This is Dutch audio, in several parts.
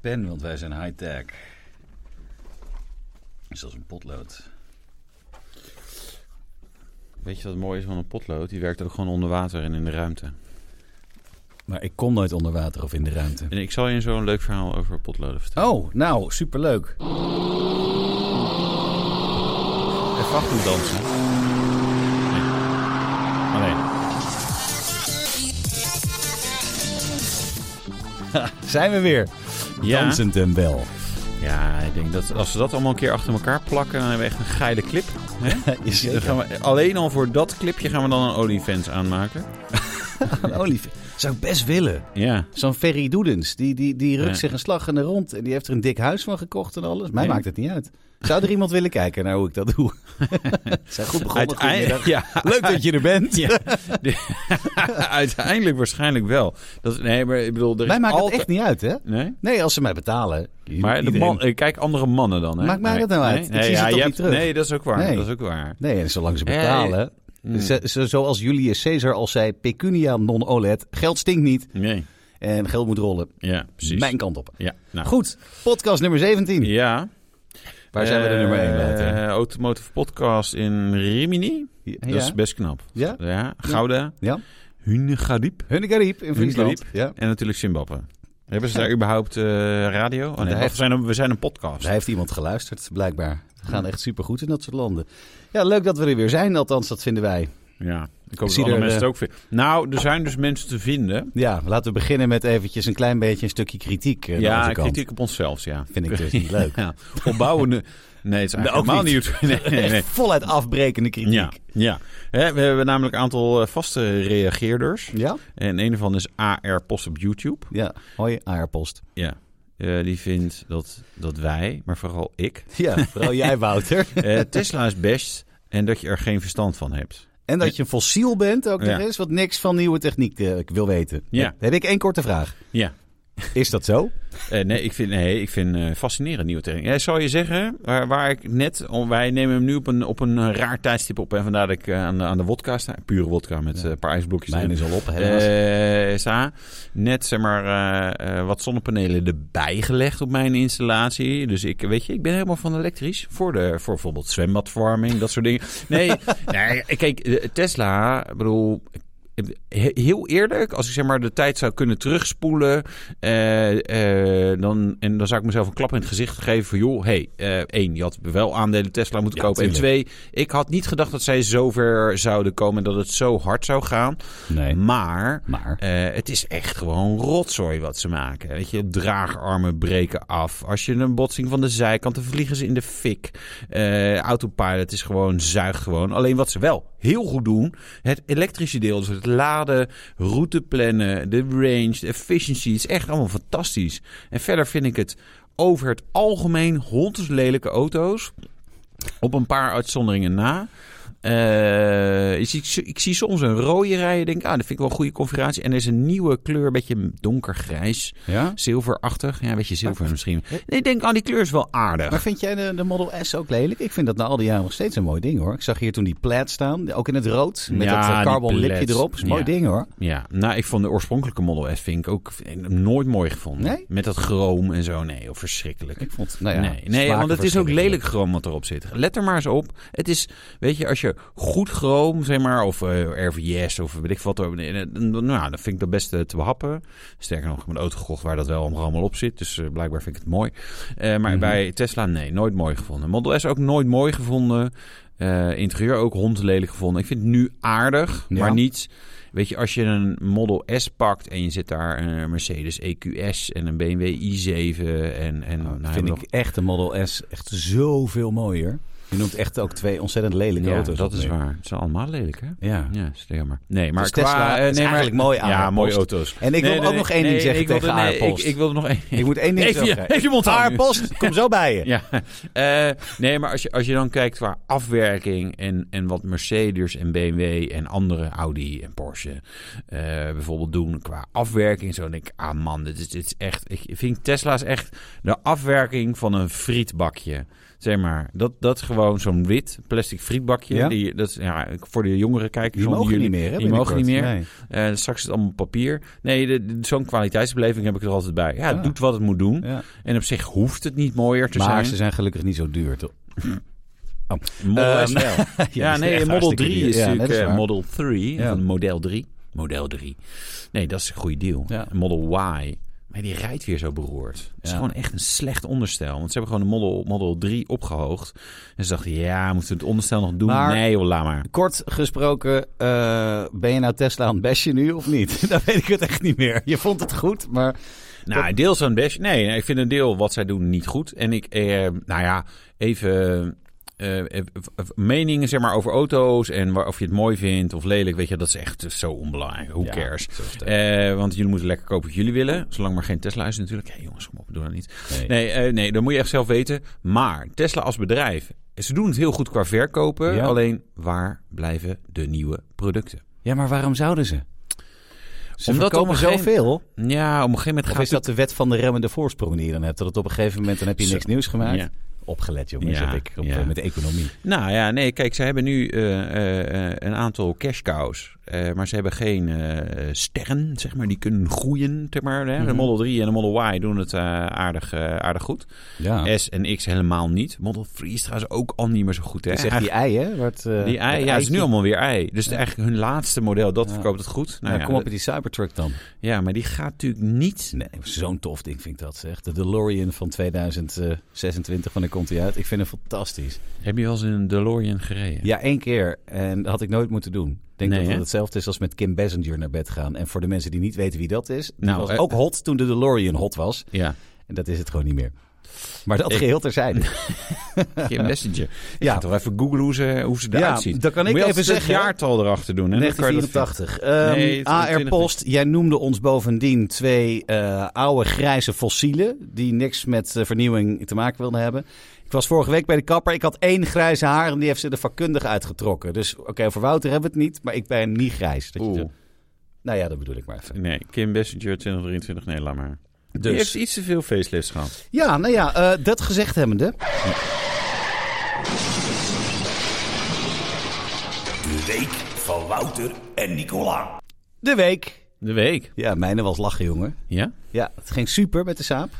pen, want wij zijn high-tech. Is als een potlood. Weet je wat mooi is van een potlood? Die werkt ook gewoon onder water en in de ruimte. Maar ik kom nooit onder water of in de ruimte. En ik zal je zo'n leuk verhaal over potloden vertellen. Oh, nou, superleuk. Even wachten dansen. Oh, Nee. Alleen. Zijn we weer. Ja. Dansend en wel. Ja, ik denk dat als we dat allemaal een keer achter elkaar plakken, dan hebben we echt een geile clip. Dan gaan we, alleen al voor dat clipje gaan we dan een OnlyFans aanmaken. Een olief. Oh, Zou ik best willen. Ja. Zo'n Ferry Doedens, die, die, die rukt Ja. zich een slag in de rond. En die heeft er een dik huis van gekocht en alles. Mij Nee. maakt het niet uit. Zou er iemand willen kijken naar hoe ik dat doe? Zijn goed begonnen. Uiteindelijk, goedemiddag. ja, Leuk dat je er bent. uiteindelijk waarschijnlijk wel. Dat, nee, maar ik bedoel, er Mij is maakt het altijd- echt niet uit, hè? Nee? Nee, als ze mij betalen. Maar de Iedereen- man, eh, kijk, andere mannen dan. Hè? Maakt mij Nee, dat nou uit? Nee, Ik nee, zie ze ja, toch je niet hebt- terug? nee, dat is ook waar. Nee. Dat is ook waar. Nee, en zolang ze Ja, betalen. Mm. Ze- ze- zoals Julius Caesar al zei, pecunia non olet. Geld stinkt niet Nee, en geld moet rollen. ja, precies. Mijn kant op. Ja, nou. Goed, podcast nummer 17. Ja. Waar zijn we de Eh, nummer 1 later? eh, Automotive Podcast in Rimini. Ja? Dat is best knap. Ja? Ja, Gouda. Ja. Hunegadip. Hunegariep in Friesland. Ja. En natuurlijk Zimbabwe. Hebben ze daar überhaupt eh, radio? Oh, nee, Daar wacht, heeft- we, zijn een, we zijn een podcast. Daar heeft iemand geluisterd, blijkbaar. We gaan echt supergoed in dat soort landen. Ja, leuk dat we er weer zijn, althans, dat vinden wij. Ja, ik hoop dat zie andere er, mensen het eh, ook vinden. Nou, er zijn dus mensen te vinden. Ja, laten we beginnen met eventjes een klein beetje een stukje kritiek. eh, aan ja, onze kant. kritiek op onszelf, ja. Vind ik dus niet leuk. Ja, opbouwende... Nee, het is Nou, ook eigenlijk helemaal niet. Nee, nee, nee. Echt voluit afbrekende kritiek. Ja, ja. Hè, we hebben namelijk een aantal eh, vaste reageerders. Ja? En een van is AR Post op YouTube. Ja. Hoi, AR-post. Ja. Eh, die vindt dat, dat wij, maar vooral ik, Ja, vooral jij, Wouter. eh, Tesla is best en dat je er geen verstand van hebt. En dat je een fossiel bent ook Ja. nog eens, wat niks van nieuwe techniek eh, ik wil weten. Ja. Dan heb ik één korte vraag. Ja, Is dat zo? Eh, nee, ik vind, nee, ik vind eh, fascinerend nieuwe techniek. Ja, zou je zeggen, waar, waar ik net... om- wij nemen hem nu op een, op een raar tijdstip op. En vandaar dat ik eh, aan, de- aan de wodka sta. Pure wodka met eh, een paar ijsblokjes Mijn erin. is al op, helaas. Eh sta. Net zeg maar eh, eh, wat zonnepanelen erbij gelegd op mijn installatie. Dus ik weet je, ik ben helemaal van elektrisch. Voor, de, voor bijvoorbeeld zwembadverwarming, dat soort dingen. Nee, nee kijk, eh, Tesla, ik bedoel. he- Heel eerlijk, als ik zeg maar de tijd zou kunnen terugspoelen, eh, eh, dan, en dan zou ik mezelf een klap in het gezicht geven van joh, hey, eh, één, je had wel aandelen Tesla moeten Ja, kopen. En twee, ik had niet gedacht dat zij zo ver zouden komen en dat het zo hard zou gaan. nee. Maar Maar. eh, het is echt gewoon rotzooi wat ze maken. Weet je, draagarmen breken af. Als je een botsing van de zijkant, dan vliegen ze in de fik. Eh, autopilot is gewoon, zuigt gewoon. Alleen wat ze wel heel goed doen, het elektrische deel. Dus het laden, route plannen, de range, de efficiency. Het is echt allemaal fantastisch. En verder vind ik het over het algemeen honderdlelijke auto's. Op een paar uitzonderingen na. Eh, ik, zie, ik zie soms een rode rijden. Denk, ah, dat vind ik wel een goede configuratie. En er is een nieuwe kleur, een beetje donkergrijs. Ja? Zilverachtig. Ja, een beetje zilver misschien. Ik denk, ah, die kleur is wel aardig. Maar vind jij de, de Model S ook lelijk? Ik vind dat na al die jaren nog steeds een mooi ding hoor. Ik zag hier toen die plaid staan, ook in het rood. Met Ja, dat eh, die carbon lipje plaid. erop. Is een mooi Ja. ding hoor. Ja, nou, ik vond de oorspronkelijke Model S vind ik ook eh, nooit mooi gevonden. Nee? Met dat chroom en zo. Nee, of verschrikkelijk. Ik vond, nou ja, Nee, nee smaken want het is ook verschillen. lelijk chroom wat erop zit. Let er maar eens op. Het is, weet je, als je goed chroom, zeg maar, of eh, RVS of weet ik wat, eh, eh, nou, ja, dan vind ik dat best eh, te behappen. Sterker nog, ik heb een auto gekocht waar dat wel allemaal op zit. Dus eh, blijkbaar vind ik het mooi. Eh, maar Mhm. bij Tesla, nee, nooit mooi gevonden. Model S ook nooit mooi gevonden. Eh, interieur ook hondlelijk gevonden. Ik vind het nu aardig, Ja. maar niet... Weet je, als je een Model S pakt en je zit daar een Mercedes EQS en een BMW i7 en... en Nou, nou, vind nog- ik echt de Model S echt zoveel mooier. Je noemt echt ook twee ontzettend lelijke ja, auto's. dat op is nu. waar. Het zijn allemaal lelijk, hè? Ja. Ja, dat is jammer. Nee, maar Dus qua... Tesla eh, is nee, maar- eigenlijk mooi aan Ja, de mooie post. auto's. En ik Nee, wil nee, ook nee, nog één nee, ding zeggen ik wilde- tegen nee, Aarpost. Ik, ik wilde nog één... Ik moet één ding Even je, zeggen. even je mond houden nu. Aarpost, kom zo bij je. Ja, Eh, nee, maar als je, als je dan kijkt qua afwerking en, en wat Mercedes en BMW en andere Audi en Porsche eh, bijvoorbeeld doen qua afwerking, zo dan denk ik, ah man, dit is, dit is echt, ik vind Tesla's echt de afwerking van een frietbakje. Zeg maar, dat, dat gewoon zo'n wit plastic frietbakje. Ja? Die, dat is, ja, voor de jongere kijkers. Die onder mogen jullie- niet meer, hè? Die mogen niet meer. binnenkort. Nee. Eh, straks is het allemaal papier. Nee, de- de- zo'n kwaliteitsbeleving heb ik er altijd bij. Ja, het Ja. doet wat het moet doen. Ja. En op zich hoeft het niet mooier te Maar ze zijn. zijn gelukkig niet zo duur, toch? Model Ehm, S wel. Ja, die ja, zijn nee, echt Model hartstikke 3 duur. is Ja, natuurlijk dat eh, waar. Model 3. Ja. Van model 3. Model 3. Nee, dat is een goede deal. Ja. Een Model Y. Maar die rijdt weer zo beroerd. Het is Ja. gewoon echt een slecht onderstel. Want ze hebben gewoon de Model, model 3 opgehoogd. En ze dachten, ja, moeten we het onderstel nog doen? Maar- nee joh, laat maar. Kort gesproken, eh, ben je nou Tesla aan het bashen nu of niet? Dan weet ik het echt niet meer. Je vond het goed, maar Nou, deels aan best. Nee, nee, ik vind een deel wat zij doen niet goed. En ik, eh, nou ja, even eh, eh, v- v- meningen zeg maar over auto's en waar, of je het mooi vindt of lelijk, weet je, dat is echt dus zo onbelangrijk. Who Ja, cares? zo is het. Eh, want jullie moeten lekker kopen wat jullie willen, zolang maar geen Tesla is natuurlijk. Hé jongens, kom op, doe dat niet. Nee. Nee, eh, nee, dat moet je echt zelf weten. Maar Tesla als bedrijf, ze doen het heel goed qua verkopen. Ja. Alleen waar blijven de nieuwe producten? Ja, maar waarom zouden ze? Ze Omdat Omdat op een komen gegeven- zoveel. Ja, op een gegeven moment Of gaat is dat de wet van de remmende voorsprong die je dan hebt? Dat het op een gegeven moment, dan heb je Zo. niks nieuws gemaakt. Ja. Opgelet, jongens, Ja, heb ik op, ja. eh, met de economie. Nou ja, nee, kijk, ze hebben nu eh, eh, eh, een aantal cash cows. eh, maar ze hebben geen eh, sterren, zeg maar, die kunnen groeien. Zeg maar, hè? De Mhm. Model 3 en de Model Y doen het eh, aardig, eh, aardig goed. Ja. S en X helemaal niet. Model 3 is trouwens ook al niet meer zo goed. Hè? Je zegt die ei, hè? Wat, eh, Die ei, dat ja, het is nu eitje. allemaal weer ei. Dus eigenlijk hun laatste model, dat Ja. verkoopt het goed. Nou, Nou, ja, kom op met dat- die Cybertruck dan. ja, maar die gaat natuurlijk niet... Nee, zo'n tof ding vind ik dat, zeg. De DeLorean van 2026, wanneer komt die uit? Ik vind hem fantastisch. Heb je wel eens in een DeLorean gereden? Ja, één keer. En dat had ik nooit moeten doen. Ik denk Nee, dat het hè? hetzelfde is als met Kim Basinger naar bed gaan. En voor de mensen die niet weten wie dat is... Die Nou, was eh, ook hot toen de DeLorean hot was. Ja, En dat is het gewoon niet meer. Maar dat Ik- geheel terzijde. Kim Messenger. Ik Ja. ga toch even googlen hoe ze, hoe ze eruit Ja, zien. dan kan ik Moet je even altijd het zeggen, hè? jaartal erachter doen. Hè? Dan kan je dat- 1984. Nee, Ehm, het is AR 20. Post, jij noemde ons bovendien twee eh, oude grijze fossielen. die niks met eh, vernieuwing te maken wilden hebben. Ik was vorige week bij de kapper. Ik had één grijze haar en die heeft ze de vakkundige uitgetrokken. Dus oké, voor Wouter hebben we het niet, maar ik ben niet grijs. Dat je Oeh. zo- nou ja, dat bedoel ik maar even. Nee, Kim Bessinger 2023, nee, laat maar. Dus. Dus. Die heeft iets te veel facelifts gehad. Ja, nou ja, eh, dat gezegd hebbende. De week van Wouter en Nicola. De week. De week. Ja, mijne was lachen, jongen. Ja? Ja, het ging super met de saap.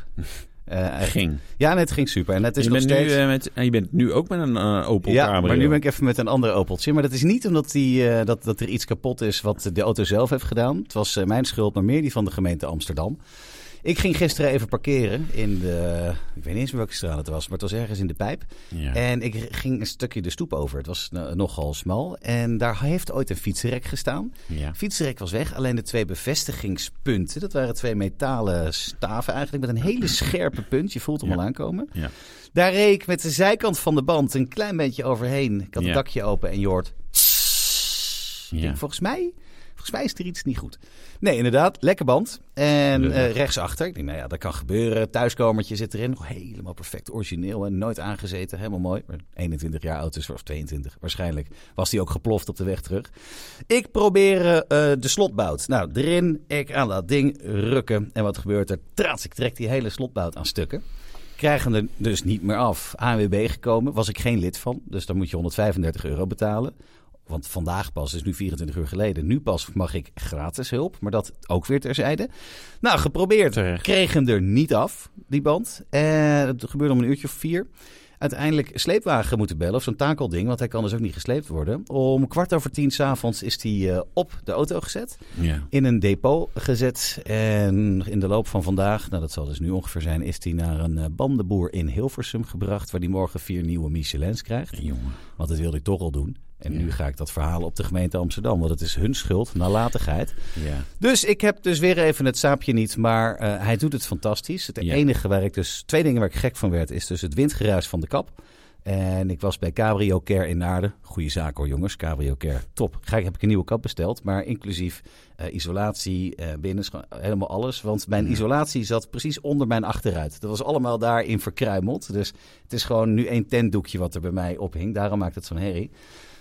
Eh, Ging. ja, nee, het ging super. En het is je, nog bent nu, steeds... eh, met, en je bent nu ook met een eh, Opel Ja, Cabrio. maar nu ben ik even met een ander Opeltje. Maar dat is niet omdat die, eh, dat, dat er iets kapot is wat de auto zelf heeft gedaan. Het was eh, mijn schuld, maar meer die van de gemeente Amsterdam. Ik ging gisteren even parkeren in de... Ik weet niet eens meer welke straat het was, maar het was ergens in de pijp. Ja. En ik Eh. ging een stukje de stoep over. Het was eh, nogal smal. En daar heeft ooit een fietsenrek gestaan. Ja. Het fietsenrek was weg, alleen de twee bevestigingspunten... dat waren twee metalen staven eigenlijk met een hele scherpe punt. Je voelt hem Ja. al aankomen. Ja. Daar reed ik met de zijkant van de band een klein beetje overheen. Ik had het Ja. dakje open en je hoort... Ik denk, Ja. Volgens mij... Volgens mij is er iets niet goed. Nee, inderdaad. Lekker band. En Lullig. eh, rechtsachter. Ik denk, nou ja, dat kan gebeuren. Thuiskomertje zit erin. Nog helemaal perfect origineel. En nooit aangezeten. Helemaal mooi. Maar 21 jaar oud is, of 22 waarschijnlijk. Was die ook geploft op de weg terug. Ik probeer eh, eh, de slotbout. Nou, erin. Ik aan dat ding rukken. En wat gebeurt er? Traats, ik trek die hele slotbout aan stukken. Krijgen hem er dus niet meer af. ANWB gekomen, was ik geen lid van. Dus dan moet je 135 euro betalen. Want vandaag pas, dus nu 24 uur geleden. Nu pas mag ik gratis hulp. Maar dat ook weer terzijde. Nou, geprobeerd. Terecht. Kreeg hem er niet af, die band. En het gebeurde om een uurtje of vier. Uiteindelijk sleepwagen moeten bellen, of zo'n takelding, want hij kan dus ook niet gesleept worden. Om kwart over tien s'avonds is hij eh, op de auto gezet Ja. in een depot gezet. En in de loop van vandaag, nou dat zal dus nu ongeveer zijn, is hij naar een eh, bandenboer in Hilversum gebracht. Waar hij morgen vier nieuwe Michelins krijgt. Jongen. Want dat wilde ik toch al doen. En Ja. nu ga ik dat verhalen op de gemeente Amsterdam. Want het is hun schuld, nalatigheid. Ja. Dus ik heb dus weer even het saapje niet. Maar eh, hij doet het fantastisch. Het Ja. enige waar ik dus, twee dingen waar ik gek van werd, is dus het windgeruis van de kap. En ik was bij Cabrio Care in Naarden. Goeie zaak hoor jongens, Cabrio Care. Top. Ga, ik- heb ik een nieuwe kap besteld. Maar inclusief eh, isolatie, eh binnen, helemaal alles. Want mijn isolatie zat precies onder mijn achteruit. Dat was allemaal daarin verkruimeld. Dus het is gewoon nu één tentdoekje wat er bij mij ophing. Daarom maakt het zo'n herrie.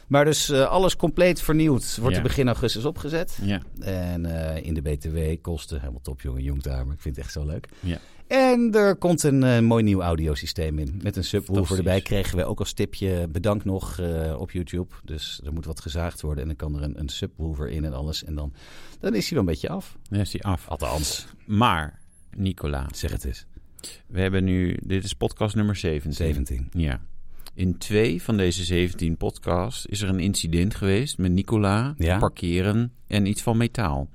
Maar dus eh, alles compleet vernieuwd. Wordt Ja. er begin augustus opgezet. Ja. En eh, in de BTW kosten. Helemaal top, jongen. Jongtamer. Ik vind het echt zo leuk. Ja. En er komt een eh, mooi nieuw audiosysteem in. Met een subwoofer Fantastisch. erbij kregen we ook als tipje bedankt nog eh, op YouTube. Dus er moet wat gezaagd worden en dan kan er een, een subwoofer in en alles. En dan, dan is hij wel een beetje af. Dan is die af. Althans, Maar, Nicola, zeg het eens. we hebben nu... Dit is podcast nummer 17. 17. Ja. In twee van deze 17 podcasts is er een incident geweest met Nicola, Ja. parkeren en iets van metaal.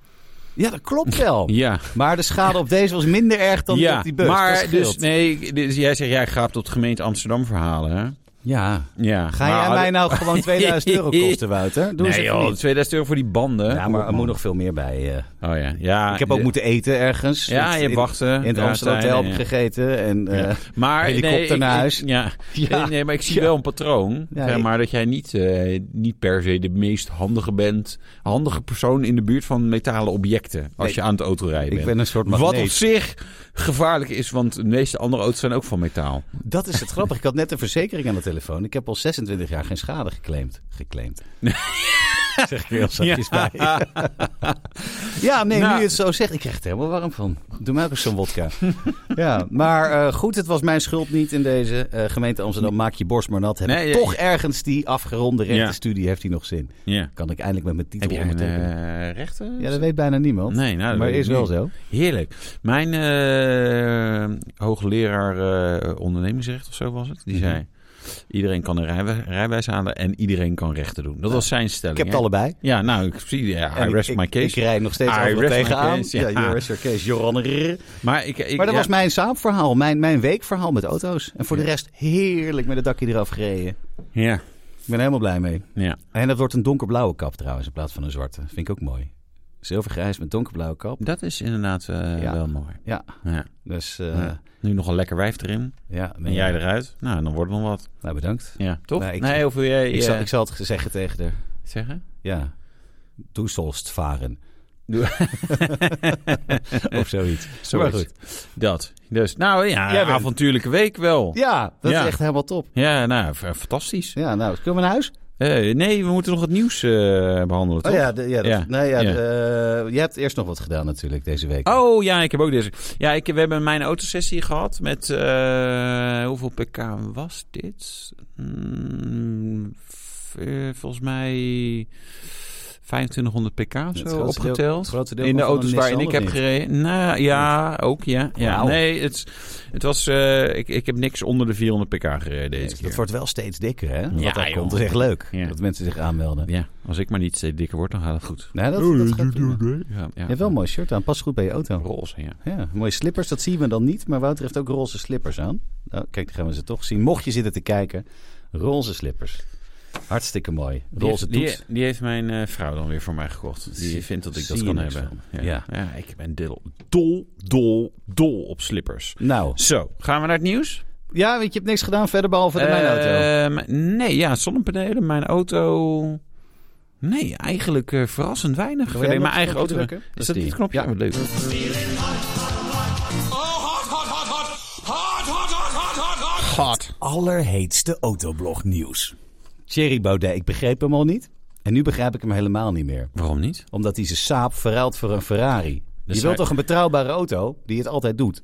Ja, dat klopt wel. Ja. Maar de schade op deze was minder erg dan die ja, op die bus. Dat maar scheelt. dus, nee, dus jij zegt, jij gaat op het gemeente Amsterdam verhalen, hè? Ja, Ja. Ga maar- jij mij nou gewoon 2000 euro kosten, Wouter? Doe nee eens even joh, niet. 2000 euro voor die banden. Ja, maar er moet nog veel meer bij. eh. Oh ja. ja ik heb ook de- moeten eten ergens. Ja, Want je in- wachten. In het Ja, Amsterdam Hotel Stijn, heb ik ja. gegeten. En, eh, Ja. Maar Helikopter nee, naar ik- huis. ik- ja. Ja. Nee, nee, maar ik zie Ja. wel een patroon. Ja, zeg ik- maar dat jij niet, eh, niet per se de meest handige bent. Handige persoon in de buurt van metalen objecten. Als Nee. je aan het autorijden ik bent. ben een soort Wat op magneet. zich gevaarlijk is, want de meeste andere auto's zijn ook van metaal. Dat is het grappige. Ik had net een verzekering aan de telefoon. Ik heb al 26 jaar geen schade geclaimd. Geclaimd. zeg ik er heel zachtjes Ja. bij. ja, nee, Nou. nu je het zo zegt. Ik krijg het helemaal warm van. Doe mij ook eens zo'n wodka. ja, maar eh, goed, het was mijn schuld niet in deze eh, gemeente Amsterdam. Maak je borst maar nat. Heb Nee, ik ja, toch ergens die afgeronde Ja. rechtenstudie, heeft hij nog zin. Ja. Kan ik eindelijk met mijn titel Heb jij een ondertekenen. eh, rechter? Ja, dat weet bijna niemand. Nee, nou, dat maar weet is ik wel niet. zo. Heerlijk. Mijn eh, hoogleraar eh, ondernemingsrecht of zo was het. Die Mhm. zei, iedereen kan een rijwe- rijwijs halen en iedereen kan rechten doen. Dat was zijn stelling. Ik heb het hè? allebei. Ja, nou, ik zie, ja, En I ik- rest ik, my case. Ik rijd nog steeds I overal rest my tegenaan. case, Ja, ja. you rest your case, Joran. maar ik, ik, Maar dat ja, was mijn saapverhaal, mijn, mijn weekverhaal met auto's. En voor de rest heerlijk met het dakje eraf gereden. Ja, Ik ben er helemaal blij mee. ja. En dat wordt een donkerblauwe kap trouwens, in plaats van een zwarte. Vind ik ook mooi. Zilvergrijs met donkerblauwe kap. dat is inderdaad eh, Ja. wel mooi. Ja. Ja. Dus eh, Ja. Nu nog een lekker wijf erin. ja, En nee. jij eruit. Nou, dan wordt het nog wat. Nou, bedankt. Ja, toch? Nou, ik- nee, of wil jij Ik, zal, eh, ik zal het zeggen tegen haar. zeggen? Ja. Du sollst varen. Doe- of zoiets. Zoiets. Maar goed. Dat. Dus, nou ja, Jij een bent- avontuurlijke week wel. Ja, Ja, dat Ja. is echt helemaal top. nou, f- fantastisch. Ja, nou, kunnen we naar huis? Eh, nee, we moeten nog het nieuws eh, behandelen, Oh toch? ja, de- ja, dat- Ja. Nee, ja, Ja. de- eh, je hebt eerst nog wat gedaan natuurlijk deze week. Oh ja, ik heb ook deze. Ja, ik, we hebben mijn autosessie gehad met. eh, hoeveel pk was dit? Mm, v- eh, volgens mij 2500 pk of Het zo grootste deel- het opgeteld. grootste deel in de kwam van auto's een waarin ik Nissan, of heb niet? gereden. Nou ja, ook ja. ja. Wauw. Nee, het, het was. eh, ik, ik heb niks onder de 400 pk gereden deze keer. Dat wordt wel steeds dikker, hè? Wat Ja, daar joh. komt is echt leuk. Ja. Dat mensen zich aanmelden. Ja, Oh, als ik maar niet steeds dikker word, dan gaat het goed. Nee, dat, Oh, dat gaat prima. Ja, ja. Je hebt wel een mooi shirt aan. Past goed bij je auto. roze, ja. Ja, mooie slippers. Dat zien we dan niet. Maar Wouter heeft ook roze slippers aan. Nou, kijk, dan gaan we ze toch zien. Mocht je zitten te kijken. Roze slippers. Hartstikke mooi. Roze die, toets. Die, die heeft mijn eh, vrouw dan weer voor mij gekocht. Die Zie- vindt dat ik zie dat je kan niks hebben. van. Ja. Ja, ik ben dol, dol, dol, dol op slippers. Nou, Zo, gaan we naar het nieuws? ja, want je hebt niks gedaan verder behalve de mijn auto. Ehm, nee, ja, zonnepanelen, mijn auto... Nee, eigenlijk eh, verrassend weinig. Wil jij Alleen nog mijn eigen een auto. knopje drukken? Is Dat dat is die. niet het knopje? Ja. Ja, wat leuk. Oh, hot, hot, hot, hot. Hot, hot, hot, hot, hot, hot. Allerheetste autoblog nieuws. Thierry Baudet, ik begreep hem al niet. En nu begrijp ik hem helemaal niet meer. Waarom niet? Omdat hij zijn saap verruilt voor een Ferrari. Dus je wilt hij- toch een betrouwbare auto die het altijd doet?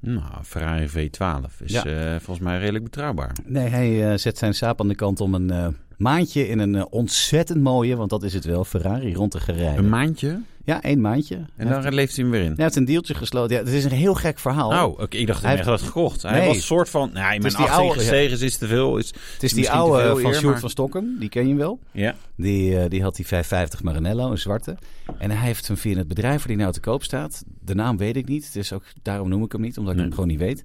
Nou, Ferrari V12 is Ja. eh, volgens mij redelijk betrouwbaar. Nee, hij eh, zet zijn saap aan de kant om een eh, maandje in een eh, ontzettend mooie, want dat is het wel, Ferrari rond te gaan rijden. Een maandje ja, één maandje. hij, en dan heeft, leeft hij hem weer in. hij heeft een deeltje gesloten. Ja, het is een heel gek verhaal. Oh, oké, ik dacht Hij dat hij dat gekocht. Hij Nee. was soort van, nou, in is mijn die 18 oude- gestegen is te veel. Is, het is die misschien te oude veel eh, van eer, Sjoerd maar- van Stokken, die ken je wel. ja. Die, eh, die had die 550 Maranello, een zwarte. En hij heeft hem via het bedrijf waar die nou te koop staat. De naam weet ik niet, dus ook daarom noem ik hem niet, omdat ik Nee. hem gewoon niet weet.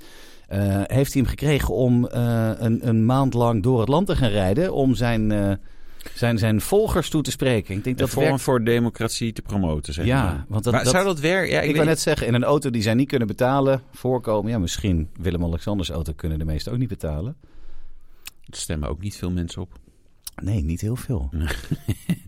Eh, heeft hij hem gekregen om eh, een, een maand lang door het land te gaan rijden. Om zijn, eh, zijn, zijn volgers toe te spreken. Ik denk Dat dat vorm werkt. voor democratie te promoten, zeg Ja, maar. want dat- Maar dat- zou dat werken? Ja, ik, Ik, weet wou net zeggen, in een auto die zij niet kunnen betalen, voorkomen. Ja, misschien Willem-Alexanders auto kunnen de meesten ook niet betalen. Er stemmen ook niet veel mensen op. Nee, niet heel veel.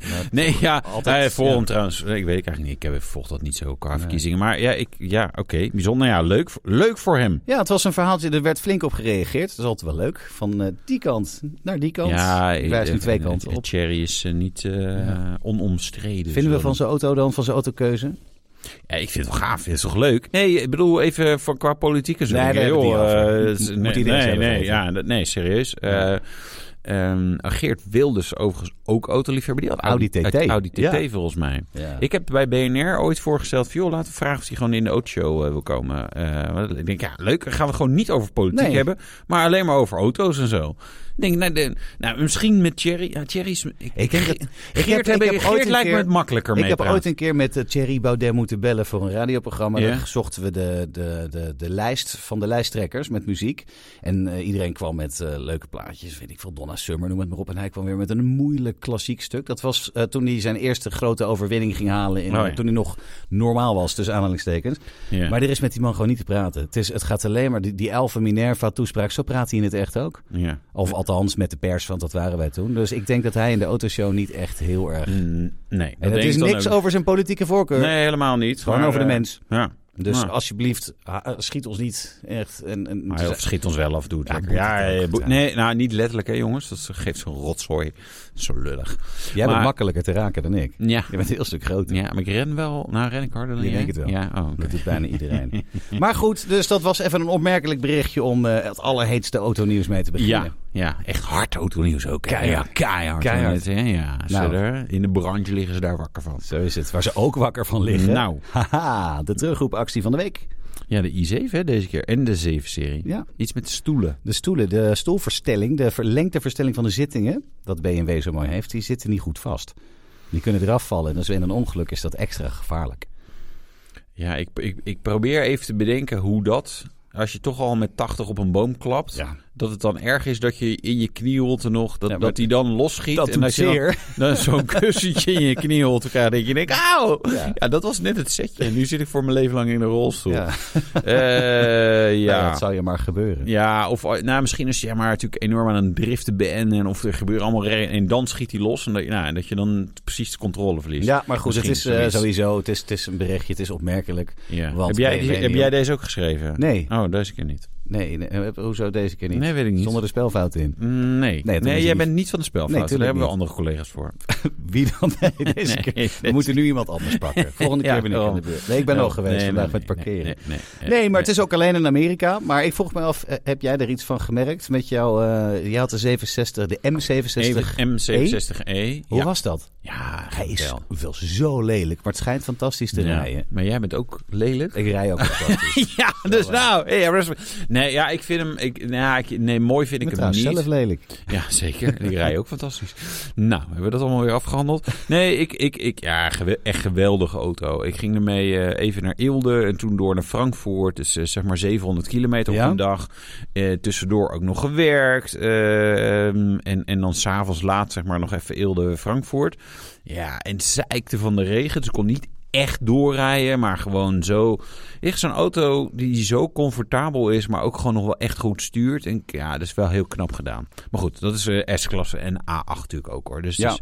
Maar- Nee, ja, Altijd, Altijd, Forum ja. trouwens. eh, Ik weet het eigenlijk niet. Ik heb volg dat niet zo qua verkiezingen. Maar ja, ik, ja oké. Bijzonder. Ja, leuk, voor- leuk voor hem. Ja, het was een verhaaltje, er werd flink op gereageerd. Dat is altijd wel leuk. Van eh, die kant naar die kant. Ja, Ik wijs nu eh, twee eh, kanten op. Thierry is eh, niet eh, Ja. onomstreden. Vinden we zullen van zijn auto dan, van zijn autokeuze? Ja, ik vind het wel gaaf. Het is toch leuk? Nee, ik bedoel even voor, qua politieke zaken. daar hebben we het joh, niet over. eh, het is- Moet nee, iedereen nee, zelf nee, weten. ja, dat- nee, serieus. Eh ehm Geert Wilders overigens ook autoliefhebber. Die had Audi TT. uit Audi TT Ja. volgens mij. Ja. Ik heb bij BNR ooit voorgesteld... Joh, laten we vragen of hij gewoon in de autoshow eh, wil komen. Eh, want ik denk, ja, leuk. Dan gaan we gewoon niet over politiek Nee. hebben. Maar alleen maar over auto's en zo. Ik denk, nou, de- nou misschien met Thierry. Ja, Thierry is... Ik denk dat- Geert, heb- ik heb- heb Geert ooit een lijkt me keer- het makkelijker Ik mee heb praten. ooit een keer met eh, Thierry Baudet moeten bellen voor een radioprogramma. Ja. Dan zochten we de, de, de, de lijst van de lijsttrekkers met muziek. En eh, iedereen kwam met eh, leuke plaatjes. Weet ik veel, Donna Summer, noem het maar op. En hij kwam weer met een moeilijk klassiek stuk. Dat was eh, toen hij zijn eerste grote overwinning ging halen. In, Oh ja. Toen hij nog normaal was, tussen aanhalingstekens. Ja. Maar er is met die man gewoon niet te praten. Het, is, het gaat alleen maar, die, die Elfe Minerva toespraak, zo praat hij in het echt ook. Ja. Of althans met de pers, want dat waren wij toen. Dus ik denk dat hij in de autoshow niet echt heel erg... Mm, nee. dat En het denk is ik dan niks ook. over zijn politieke voorkeur. Nee, helemaal niet. Gewoon Maar, over de eh, mens. Ja. Dus Ja. alsjeblieft, ha- eh, schiet ons niet echt. dus En, en, Maar of schiet ons wel af, doe het Ja, lekker. boeit Ja, het ook. eh, boe- Ja. nee, nou niet letterlijk hè jongens. Dat geeft zo'n rotzooi. Zo lullig. Jij maar- bent makkelijker te raken dan ik. Ja. Je bent een heel stuk groter. ja, maar ik ren wel. Nou, ren ik harder dan Je jij? denkt het wel. Ja, oh, oké. Dat doet bijna iedereen. maar goed, dus dat was even een opmerkelijk berichtje om eh, het allerheetste autonieuws mee te beginnen. ja, ja, echt hard autonieuws ook. hè. Keihard. Ja, keihard. Keihard. Ja, ja. Ze Nou. er- in de branche liggen ze daar wakker van. Zo is het. Waar ze ook wakker van liggen. Nou. Haha, de terugroepactie van de week. Ja, de i7 hè, deze keer. En de 7-serie. Ja. Iets met stoelen. De stoelen, de stoelverstelling, de verlengde verstelling van de zittingen, dat BMW zo mooi heeft, die zitten niet goed vast. Die kunnen eraf vallen en als er een ongeluk is dat extra gevaarlijk. Ja, ik, ik, ik probeer even te bedenken hoe dat... Als je toch al met 80 op een boom klapt... Ja. dat het dan erg is dat je in je knieholte nog... dat, Ja, maar dat die dan losschiet. dat doet als je dan- zeer. dan zo'n kussentje in je knieholte gaat... denk je, denk, auw! Ja. Ja. dat was net het setje. En nu zit ik voor mijn leven lang in een rolstoel. Ja, Ja, Eh, ja. dat zou je maar gebeuren. Ja, of nou, misschien is je maar natuurlijk enorm aan een driften ben en of er gebeuren allemaal re- en dan schiet hij los en dat, nou, en dat je dan precies de controle verliest. Ja, maar goed, het is Misschien eh, zoiets. sowieso, het is, het is een berichtje, het is opmerkelijk. Ja. Want Heb, jij, BMW heb jij deze ook geschreven? Nee. Oh, deze keer niet. Nee, nee, eh, hoezo deze keer niet? Nee, weet ik niet. Zonder de spelfouten in. Mm, Nee, Nee, nee, toen is hij jij niet- bent niet van de Nee, spelfouten. tuurlijk Daar hebben we niet. andere collega's voor. Wie dan? Nee, deze Nee, keer. We deze- moeten nu iemand anders pakken. Volgende keer Ja, ben ik oh. aan de beurt. Nee, ik ben Oh, al geweest nee, vandaag nee, met nee, parkeren. Nee, Nee, nee, maar het is ook alleen in Amerika. Maar ik vroeg me af, eh, heb jij er iets van gemerkt met jouw... eh je had de 67, de M67. M67E. Hoe E. ja. was dat? Ja, Hij is wel. wel zo lelijk, maar het schijnt fantastisch te Ja, rijden. Maar jij bent ook lelijk. Ik rij ook fantastisch. ja, dus nou. hey, respect. nee, ja, ik vind hem. Ik, nou, ik, nee, mooi vind ik ik ben hem trouwens niet. zelf lelijk. Ja, zeker. Die rij ook fantastisch. Nou, hebben we dat allemaal weer afgehandeld? Nee, ik, ik, ik ja, gewe- echt geweldige auto. Ik ging ermee eh, even naar Eelde en toen door naar Frankfurt. Dus eh, zeg maar 700 kilometer op Ja. een dag. Eh, tussendoor ook nog gewerkt. Eh, ehm, en, en dan s'avonds laat zeg maar nog even Eelde-Frankfurt. Ja, en zeikte van de regen. Dus ik kon niet echt doorrijden, maar gewoon zo... Echt zo'n auto die zo comfortabel is, maar ook gewoon nog wel echt goed stuurt. En ja, dat is wel heel knap gedaan. Maar goed, dat is eh, S-klasse en A8 natuurlijk ook hoor. Dus het Ja. is-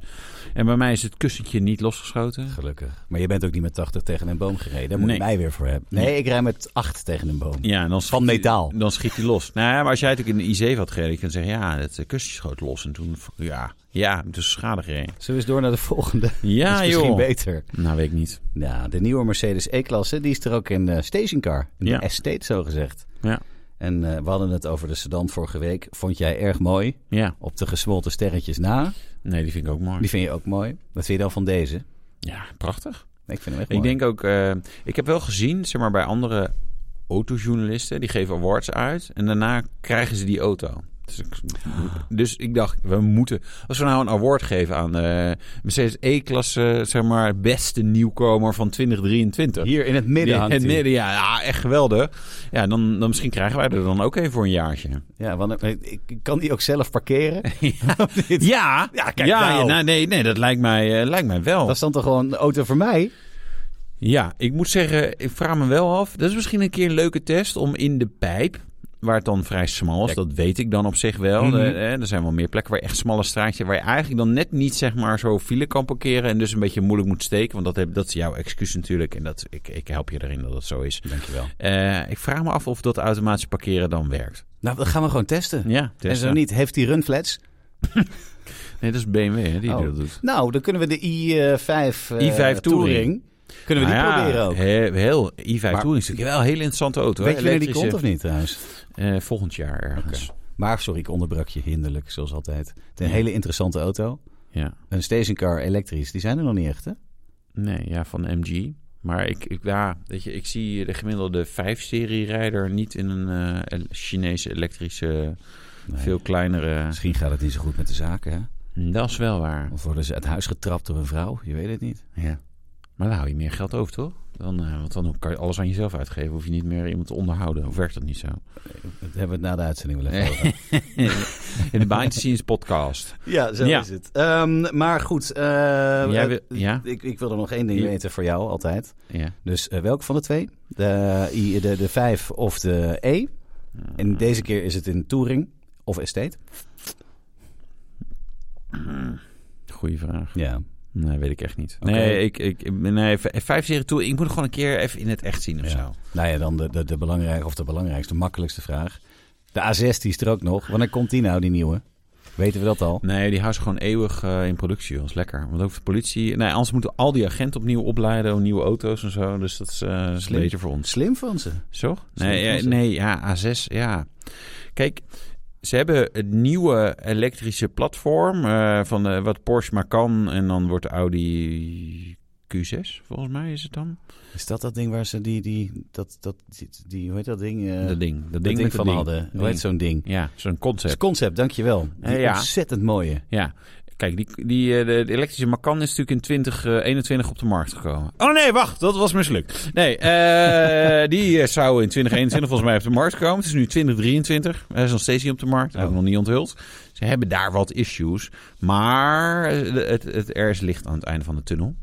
en bij mij is het kussentje niet losgeschoten. Gelukkig. Maar je bent ook niet met 80 tegen een boom gereden. Daar moet Nee. je mij weer voor hebben. Nee, ik rij met 8 tegen een boom. Ja, en dan Van schiet- metaal. Dan schiet hij los. Nou ja, maar als jij natuurlijk in de I7 had gereden, kan je zeggen, ja, het eh, kussentje schoot los. En toen, ja, ja, dus schade gereden. Zullen we eens door naar de volgende? Ja, is misschien joh. beter. Nou, weet ik niet. Nou, de nieuwe Mercedes E-klasse, die is er ook in eh, stationcar. In Ja. de estate, zo gezegd. Ja, En eh, we hadden het over de sedan vorige week. Vond jij erg mooi. ja. Op de gesmolten sterretjes na. Nee, die vind ik ook mooi. Die vind je ook mooi. Wat vind je dan van deze? Ja, prachtig. Ik vind hem echt Ik mooi. denk ook, eh, ik heb wel gezien, zeg maar, bij andere autojournalisten, die geven awards uit en daarna krijgen ze die auto. Dus ik, dus ik dacht, we moeten, als we nou een award geven aan eh Mercedes E-klasse, zeg maar, beste nieuwkomer van 2023. Hier in het midden in hangt het hij. midden, ja, ja, echt geweldig. Ja, dan, dan misschien krijgen wij er dan ook een voor een jaartje. Ja, want eh, ik ik kan die ook zelf parkeren. Ja, Ja, kijk ja, nou. ja, nou, nee, nee, dat lijkt mij, eh, lijkt mij wel. Dat is dan toch gewoon een auto voor mij? Ja, ik moet zeggen, ik vraag me wel af. Dat is misschien een keer een leuke test om in de pijp, waar het dan vrij smal is, Ja. dat weet ik dan op zich wel. Mhm. Eh, eh, er zijn wel meer plekken waar je echt smalle straatjes, waar je eigenlijk dan net niet zeg maar zo file kan parkeren en dus een beetje moeilijk moet steken. Want dat, heb, dat is jouw excuus natuurlijk en dat, ik, ik help je erin dat dat zo is. Dankjewel. Eh, ik vraag me af of dat automatische parkeren dan werkt. Nou, dat gaan we gewoon testen. Ja, en Tesla. zo niet, heeft die runflats? Nee, dat is BMW hè, die Oh. dat doet. Nou, dan kunnen we de I5, eh, i5 Touring. Touring. Ah Kunnen we die Nou ja, proberen ook? he- heel, i5 Maar- Touring is natuurlijk wel een hele interessante auto. Weet hè? je wanneer die Elektrische. komt of niet trouwens? Eh, volgend jaar ergens. Maar sorry, ik onderbrak je hinderlijk, zoals altijd. Het is een Ja. hele interessante auto. Ja. Een stationcar elektrisch, die zijn er nog niet echt, hè? Nee, ja, van MG. Maar ik, ik, ja, weet je, ik zie de gemiddelde 5-serie-rijder niet in een eh, el- Chinese elektrische, Nee. veel kleinere. Mm, Misschien gaat het niet zo goed met de zaken, hè? Dat is wel waar. Of worden ze uit huis getrapt door een vrouw? Je weet het niet. Ja. Maar dan hou je meer geld over, toch? Dan, eh, want dan kan je alles aan jezelf uitgeven. Hoef je niet meer iemand te onderhouden. Of werkt dat niet zo? Dat hebben we het na de uitzending wel even Nee. over. in de Behind the Scenes podcast. Ja, zo Ja. is het. Ehm, maar goed, eh, Jij eh, wil- ja? ik, ik wil er nog één ding Ja. weten voor jou altijd. Ja. Dus eh, welke van de twee? De, I- de, de 5 of de E? En deze keer is het in Touring of Estate. Goeie vraag. Ja. Nee, weet ik echt niet. Oké. Nee, ik, ik, nee, v- vijf serie toe. Ik moet het gewoon een keer even in het echt zien Ja. of zo. Nou ja, dan de, de, de belangrijke, of de belangrijkste, makkelijkste vraag. De A6 die is er ook nog. Wanneer komt die nou, die nieuwe? Weten we dat al? Nee, die houden ze gewoon eeuwig eh, in productie. Dat is lekker. Want ook de politie... Nee, anders moeten al die agenten opnieuw opleiden. Nieuwe auto's en zo. Dus dat is eh, is Slim. beter voor ons. Slim van ze. Zo? Slim Nee, van ja, ze. nee, ja, A6, ja. Kijk, ze hebben het nieuwe elektrische platform eh, van de, wat Porsche maar kan. En dan wordt de Audi Q6, volgens mij is het dan. Is dat dat ding waar ze die, die, dat, dat, die, die- hoe heet dat ding? eh, dat ding. Dat dat ding, ding met van dat ding. hadden. Hoe heet zo'n ding? Ja, zo'n Dat is concept. concept, dankjewel. Die Eh, ja. ontzettend mooie. Ja. Kijk, die, die, eh, de, de elektrische Macan is natuurlijk in 2021 op de markt gekomen. Oh nee, wacht, dat was mislukt. Nee, eh, die eh, zou in 2021 volgens mij op de markt komen. Het is nu 2023. Hij is nog steeds niet op de markt. Dat hebben we nog niet onthuld. Ze hebben daar wat issues. Maar eh, het, het, er is licht aan het einde van de tunnel.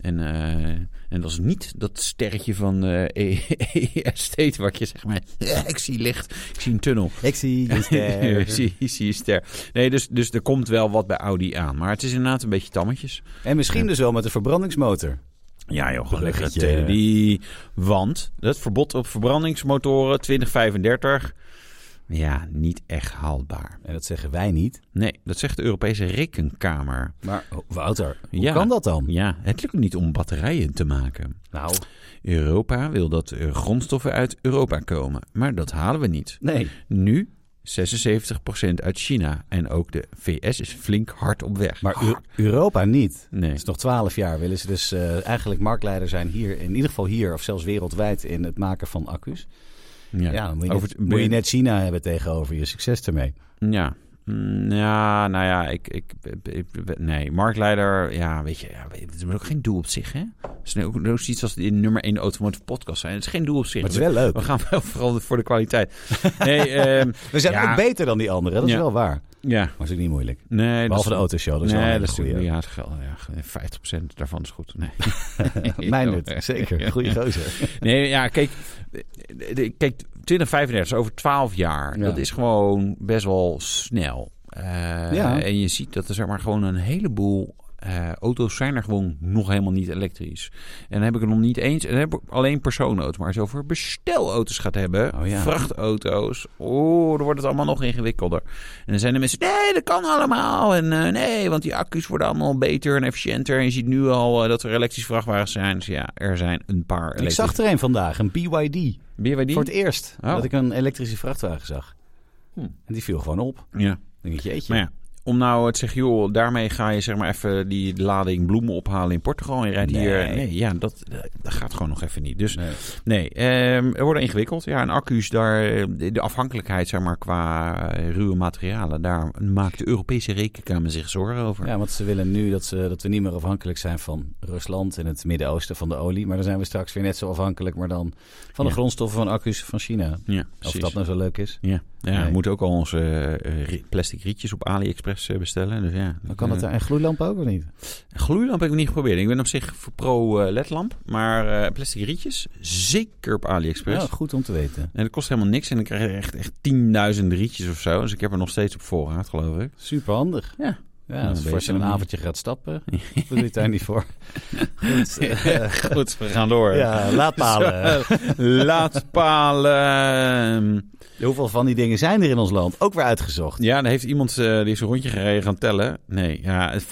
En, eh, en dat is niet dat sterretje van eh E-Estate, waar je zeg maar... ik zie licht, ik zie een tunnel. Ik zie je Ik zie, ik zie je ster. Nee, dus, dus er komt wel wat bij Audi aan. Maar het is inderdaad een beetje tammetjes. En misschien dus wel met een verbrandingsmotor. Ja joh, gewoon lekker Bruggetje. tegen die... eh, Want het verbod op verbrandingsmotoren 2035... Ja, niet echt haalbaar. En dat zeggen wij niet. Nee, dat zegt de Europese Rekenkamer. Maar oh, Wouter, hoe Ja. kan dat dan? Ja, het lukt niet om batterijen te maken. Nou, Europa wil dat er grondstoffen uit Europa komen. Maar dat halen we niet. nee. Nu 76% uit China. En ook de VS is flink hard op weg. Maar Eu- Europa niet. Ah. Nee. Het is nog twaalf jaar. Willen ze dus eh, eigenlijk marktleider zijn hier, in ieder geval hier, of zelfs wereldwijd, in het maken van accu's. Ja, dan moet je, Over net, het- moet je net China hebben tegenover je succes ermee. Ja. Mm, Ja, nou ja, ik, ik, ik- nee, marktleider, ja, weet je, ja, weet je, het is ook geen doel op zich, hè? Het is ook ook zoiets als die nummer 1 automotive podcast zijn. Het is geen doel op zich. Maar het is wel leuk. We gaan wel vooral voor de kwaliteit. Nee, ehm, We zijn Ja. ook beter dan die anderen, dat is Ja. wel waar. Maar ja, het is ook niet moeilijk. nee. dat Behalve is- de autoshow, dat is wel nee, een dat hele is goede. natuurlijk- Ja, het geld, ja, 50% daarvan is goed. Nee. Mijndert, zeker. Goeie gozer. Nee, ja, kijk, de- de- kijk 2035 is over 12 jaar. Ja. Dat is gewoon best wel snel. Eh, Ja. En je ziet dat er zeg maar gewoon een heleboel eh, auto's zijn er gewoon nog helemaal niet elektrisch. En dan heb ik het nog niet eens. En dan heb ik alleen personenauto's. Maar als je over bestelauto's gaat hebben, Oh ja. vrachtauto's. Oh, dan wordt het allemaal nog ingewikkelder. En dan zijn de mensen, nee, dat kan allemaal. En eh, nee, want die accu's worden allemaal beter en efficiënter. En je ziet nu al eh, dat er elektrische vrachtwagens zijn. Dus ja, er zijn een paar Ik elektrische zag er een vandaag, een BYD. BYD? Voor het eerst Oh. dat ik een elektrische vrachtwagen zag. Hm. En die viel gewoon op. Dan Ja. denk ik, jeetje. Maar ja, om nou te zeggen, joh, daarmee ga je zeg maar even die lading bloemen ophalen in Portugal en je rijdt Nee. hier. Nee, ja, dat, eh, dat gaat gewoon nog even niet. Dus Nee. nee, ehm er worden ingewikkeld. Ja, en accu's, daar, eh, de afhankelijkheid zeg maar qua eh, ruwe materialen, daar maakt de Europese rekenkamer zich zorgen over. Ja, want ze willen nu dat, ze, dat we niet meer afhankelijk zijn van Rusland en het Midden-Oosten van de olie. Maar dan zijn we straks weer net zo afhankelijk, maar dan van de Ja. grondstoffen van accu's van China. Ja, Of precies. dat nou zo leuk is. Ja, ja Nee. we moeten ook al onze eh, ri- plastic rietjes op AliExpress eh, bestellen. Dus ja, Dan kan dat eh, daar en gloeilampen ook of niet? Gloeilamp heb ik niet geprobeerd. Ik ben op zich voor pro-ledlamp. Maar eh, plastic rietjes, zeker op AliExpress. Ja, goed om te weten. En dat kost helemaal niks. En ik krijg je echt, echt 10.000 rietjes of zo. Dus ik heb er nog steeds op voorraad, geloof ik. Super handig. Ja. Ja, als voor een je beetje een een- avondje gaat stappen, doe je het daar niet voor. Goed, eh, Goed, we gaan door. ja, laadpalen. Zo, Laadpalen. Hoeveel van die dingen zijn er in ons land? Ook weer uitgezocht. Ja, dan heeft iemand eh, die is een rondje gereden gaan tellen. Nee, ja, 520.000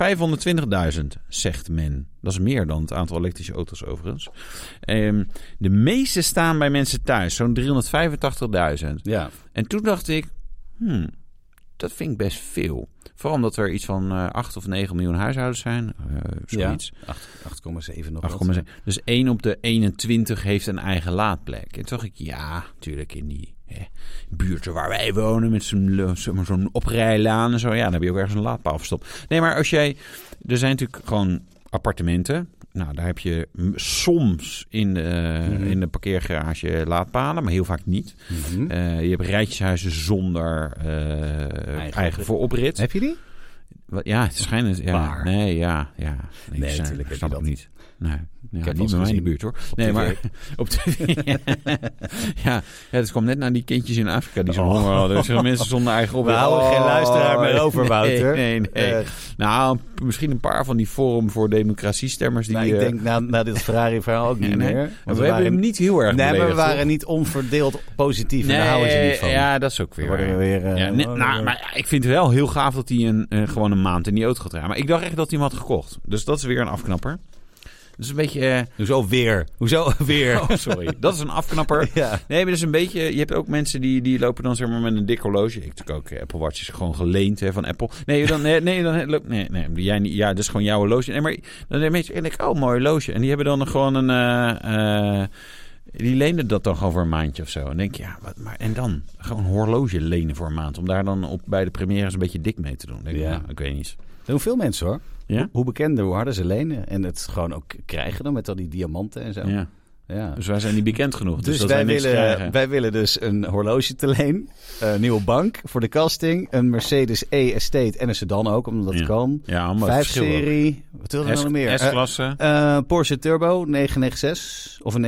zegt men. Dat is meer dan het aantal elektrische auto's overigens. Ehm, de meeste staan bij mensen thuis, zo'n 385.000. Ja, En toen dacht ik, hmm, dat vind ik best veel. Vooral omdat er iets van eh 8 of 9 miljoen huishoudens zijn. eh zoiets. acht- 8,7 nog. 8,7. Dus 1 op de 21 heeft een eigen laadplek. En toen dacht ik, ja, natuurlijk in die hè, buurten waar wij wonen... met zo'n lo- zo'n zo'n oprijlaan en zo. Ja, dan heb je ook ergens een laadpaal verstopt. Nee, maar als jij... Er zijn natuurlijk gewoon appartementen. Nou, daar heb je m- soms in de, Mhm. in de parkeergarage laadpalen, maar heel vaak niet. Mhm. Eh, je hebt rijtjeshuizen zonder eh, eigen, oprit. vooroprit. Heb je die? Wat- Ja, het schijnt... Ja, Waar? Nee, ja, ja. Nee, ik snap- natuurlijk heb je snap dat. ik niet. Nee, ja, heb niet wel bij mij gezien. in de buurt hoor. Op nee, tv. maar op tv. ja, ja, dat kwam net naar die kindjes in Afrika die zo'n Oh. honger hadden. Dus er zijn mensen zonder eigen We oprit. houden geen Oh, luisteraar meer over, nee, Wouter. Nee, nee. Eh, nou, p- misschien een paar van die Forum voor Democratie-stemmers die... nou, ik eh, denk na, na dit Ferrari-verhaal ook niet nee, nee. meer. we, Want hebben hem waren, niet heel erg nee, maar we beledigd, waren niet onverdeeld positief. Nee, en daar houden ze niet van. Ja, dat is ook weer Dan worden we waar. weer... eh, Ja, nee, oh, nou, maar ja, ik vind het wel heel gaaf dat hij een, eh, gewoon een maand in die auto gaat rijden. Maar ik dacht echt dat hij hem had gekocht. Dus dat is weer een afknapper. Dus een beetje... eh, Hoezo weer? Hoezo weer? Oh, sorry. Dat is een afknapper. Ja. Nee, maar dat is een beetje... Je hebt ook mensen die, die lopen dan zeg maar met een dik horloge. Ik natuurlijk ook. eh, Apple Watch is gewoon geleend hè, van Apple. Nee, dan... Nee, nee, dan loop- nee, nee, jij niet. Ja, dat is gewoon jouw horloge. Nee, maar dan hebben mensen... En ik, oh, mooi horloge. En die hebben dan gewoon een... eh, eh, die leenden dat dan gewoon voor een maandje of zo. En dan denk je, ja, wat, maar en dan? Gewoon een horloge lenen voor een maand. Om daar dan op, bij de premières een beetje dik mee te doen. Dan Denk ik, Ja. nou, ik weet niet. Dat doen veel mensen hoor. Ja? Hoe bekender, hoe harder ze lenen. En het gewoon ook krijgen dan met al die diamanten en zo. Ja. Ja. Dus wij zijn niet bekend genoeg. Dus, Dus dat wij, niks willen, krijgen. wij willen dus een horloge te leen, een nieuwe bank voor de casting, een Mercedes E-Estate en een sedan ook, omdat het Ja. kan. Ja, allemaal Vijf verschil ook. serie, wat wilden we nou nog meer? S- S-klasse. Eh, eh, Porsche Turbo 996 of een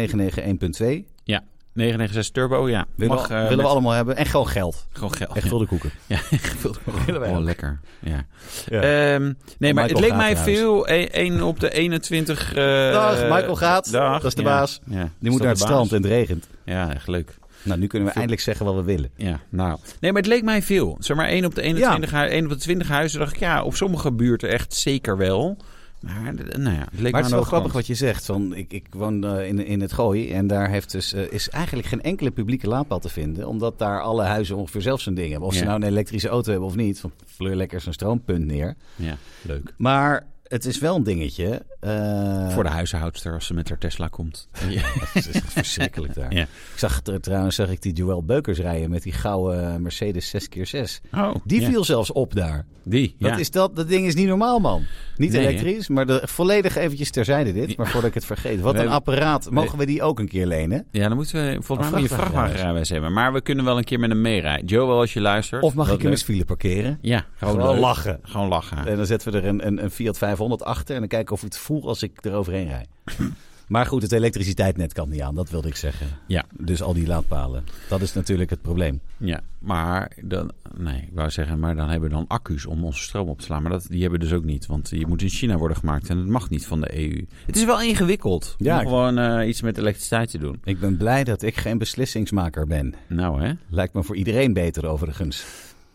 991.2. 996 Turbo, ja. Willen, Mag, we, eh, willen met- we allemaal hebben. En gewoon geld. Gewoon geld. Echt ja. wilde koeken. Ja, gevulde koek. Willen wij Oh, ook. lekker. Ja. Ja. Oh, Ehm, nee, maar Michael het leek gaat mij trouwens. veel. 1 op de 21... eh, Dag, Michael gaat. dag, Dat is de ja. baas. Ja. Die Is moet dat naar het de baas? strand en het regent. Ja, echt leuk. Nou, nu kunnen we eindelijk zeggen wat we willen. Ja, nou. Nee, maar het leek mij veel. Zeg maar 1 op de 21, hu- 1 op de 20 huizen dacht ik, ja, op sommige buurten echt zeker wel. Maar, d- nou ja, Maar het het leek me is wel aan de grappig overkant. wat je zegt. Van, ik, ik woon eh, in, in het Gooi en daar heeft dus, eh, is eigenlijk geen enkele publieke laadpaal te vinden. Omdat daar alle huizen ongeveer zelf zo'n ding hebben. Of ze Ja. nou een elektrische auto hebben of niet. Van, fleur lekker zo'n stroompunt neer. Ja, leuk. Maar het is wel een dingetje. eh, Voor de huishoudster als ze met haar Tesla komt. Het is echt verschrikkelijk daar. Ja. Ik zag er trouwens zag ik die Joël Beukers rijden met die gouden eh, Mercedes 6x6. Oh, Die ja. viel zelfs op daar. Die, ja. Dat, is dat, dat ding is niet normaal, man. Niet Nee, hè? elektrisch, maar de, volledig eventjes terzijde dit. Maar voordat ik het vergeet. Wat We een hebben- apparaat. Mogen we die ook een keer lenen? Ja, dan moeten we volgens Oh, mij vrachtwagenrijbewijs. een vrachtwagenrijbewijs hebben. Maar we kunnen wel een keer met hem meerijden. Joe, wel als je luistert. Of mag Wat ik hem leuk. eens file parkeren? Ja, gewoon, Gewoon leuk. lachen. Eh. Gewoon lachen. En dan zetten we er een, een, een Fiat 500 achter. En dan kijken of ik het voel als ik er overheen rijd. maar goed, het elektriciteitsnet kan niet aan. Dat wilde ik zeggen. Ja. Dus al die laadpalen. Dat is natuurlijk het probleem. Ja, maar dan... Nee, ik wou zeggen, maar dan hebben we dan accu's om onze stroom op te slaan. Maar dat, die hebben we dus ook niet. Want die moet in China worden gemaakt en dat mag niet van de EU. Het is wel ingewikkeld Ja, om ik- gewoon eh, iets met elektriciteit te doen. Ik ben blij dat ik geen beslissingsmaker ben. Nou, hè? Lijkt me voor iedereen beter overigens.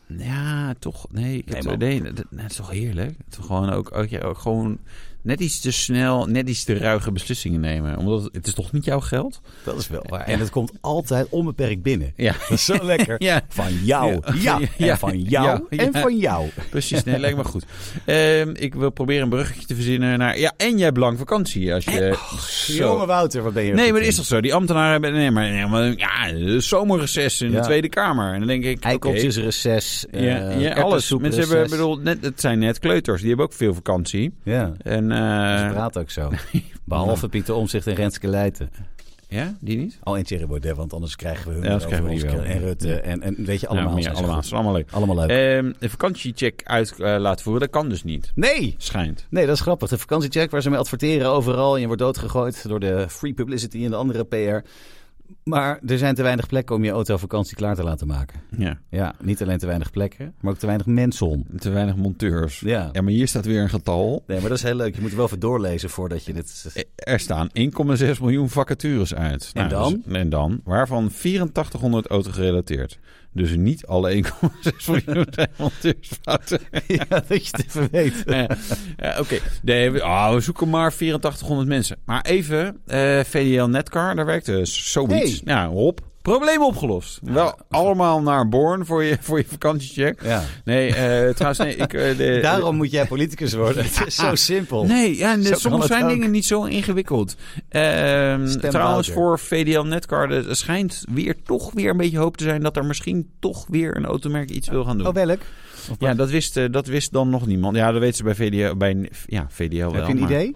Ja, toch. Nee, ik heb Nee, het man. idee- dat, dat is toch heerlijk? Toch gewoon ook, ook, ja, ook gewoon net iets te snel, net iets te ruige beslissingen nemen. Omdat het, het is toch niet jouw geld? Dat is wel waar. En het komt altijd onbeperkt binnen. Ja. Dat is zo lekker. Ja, Van jou. Ja. Ja. Ja. En van jou. Ja. En Ja. van jou. Precies, nee, lijkt me goed. Ehm, ik wil proberen een bruggetje te verzinnen naar... Ja, en jij hebt lang vakantie als je... zo. Jonge Wouter, wat ben je? Nee, goed maar dat in. is toch zo? Die ambtenaren hebben... Nee, maar, nee, maar ja, de zomerreces in Ja. de Tweede Kamer. En dan denk ik... oké. Eikeltjesreces. eh, Ja, ja, alles. erwtensoepreces. Mensen hebben, bedoel, net, het zijn net kleuters. Die hebben ook veel vakantie. Ja, En, ze eh, praten ook zo. Behalve Pieter Omzicht en Renske Leijten. ja, die niet? Al en Thierry Baudet, want anders krijgen we hun Ja, anders over krijgen we die ons wel. En Rutte en, en weet je, Ja, allemaal. meer, zijn ze allemaal, goed. Is allemaal leuk. Allemaal leuk. Ehm, de vakantiecheck uit eh, laten voeren, dat kan dus niet. nee! Schijnt. Nee, dat is grappig. De vakantiecheck waar ze mee adverteren overal. En je wordt doodgegooid door de free publicity en de andere PR. Maar er zijn te weinig plekken om je auto op vakantie klaar te laten maken. Ja. Ja, niet alleen te weinig plekken, maar ook te weinig mensen om. Te weinig monteurs. Ja. Ja, maar hier staat weer een getal. Nee, maar dat is heel leuk. Je moet er wel even doorlezen voordat je dit... Er staan 1,6 miljoen vacatures uit. En dan? dus- en dan? Waarvan 8400 auto gerelateerd. Dus niet alle 1,6 miljoen zijn monteursfouten. ja, dat je het even weet. Eh, eh, Oké, Nee, we, ah, we zoeken maar 8400 mensen. Maar even, eh, VDL Netcar, daar werkte zoiets. Hey. Ja, hop. Probleem opgelost. Wel allemaal naar Born voor je, voor je vakantiecheck. Ja. Nee, eh, trouwens, nee, ik... eh, de- Daarom moet jij politicus worden. Het is zo simpel. Nee, ja, en Zo kan soms het zijn ook. dingen niet zo ingewikkeld. Ehm, Stem trouwens, Wouter. voor VDL Netcar er schijnt weer toch weer een beetje hoop te zijn... dat er misschien toch weer een automerk iets wil gaan doen. Oh, welk? ja, dat wist, eh, dat wist dan nog niemand. Ja, dat weten ze bij VDL, bij, ja, VDL wel. Heb je een maar- idee?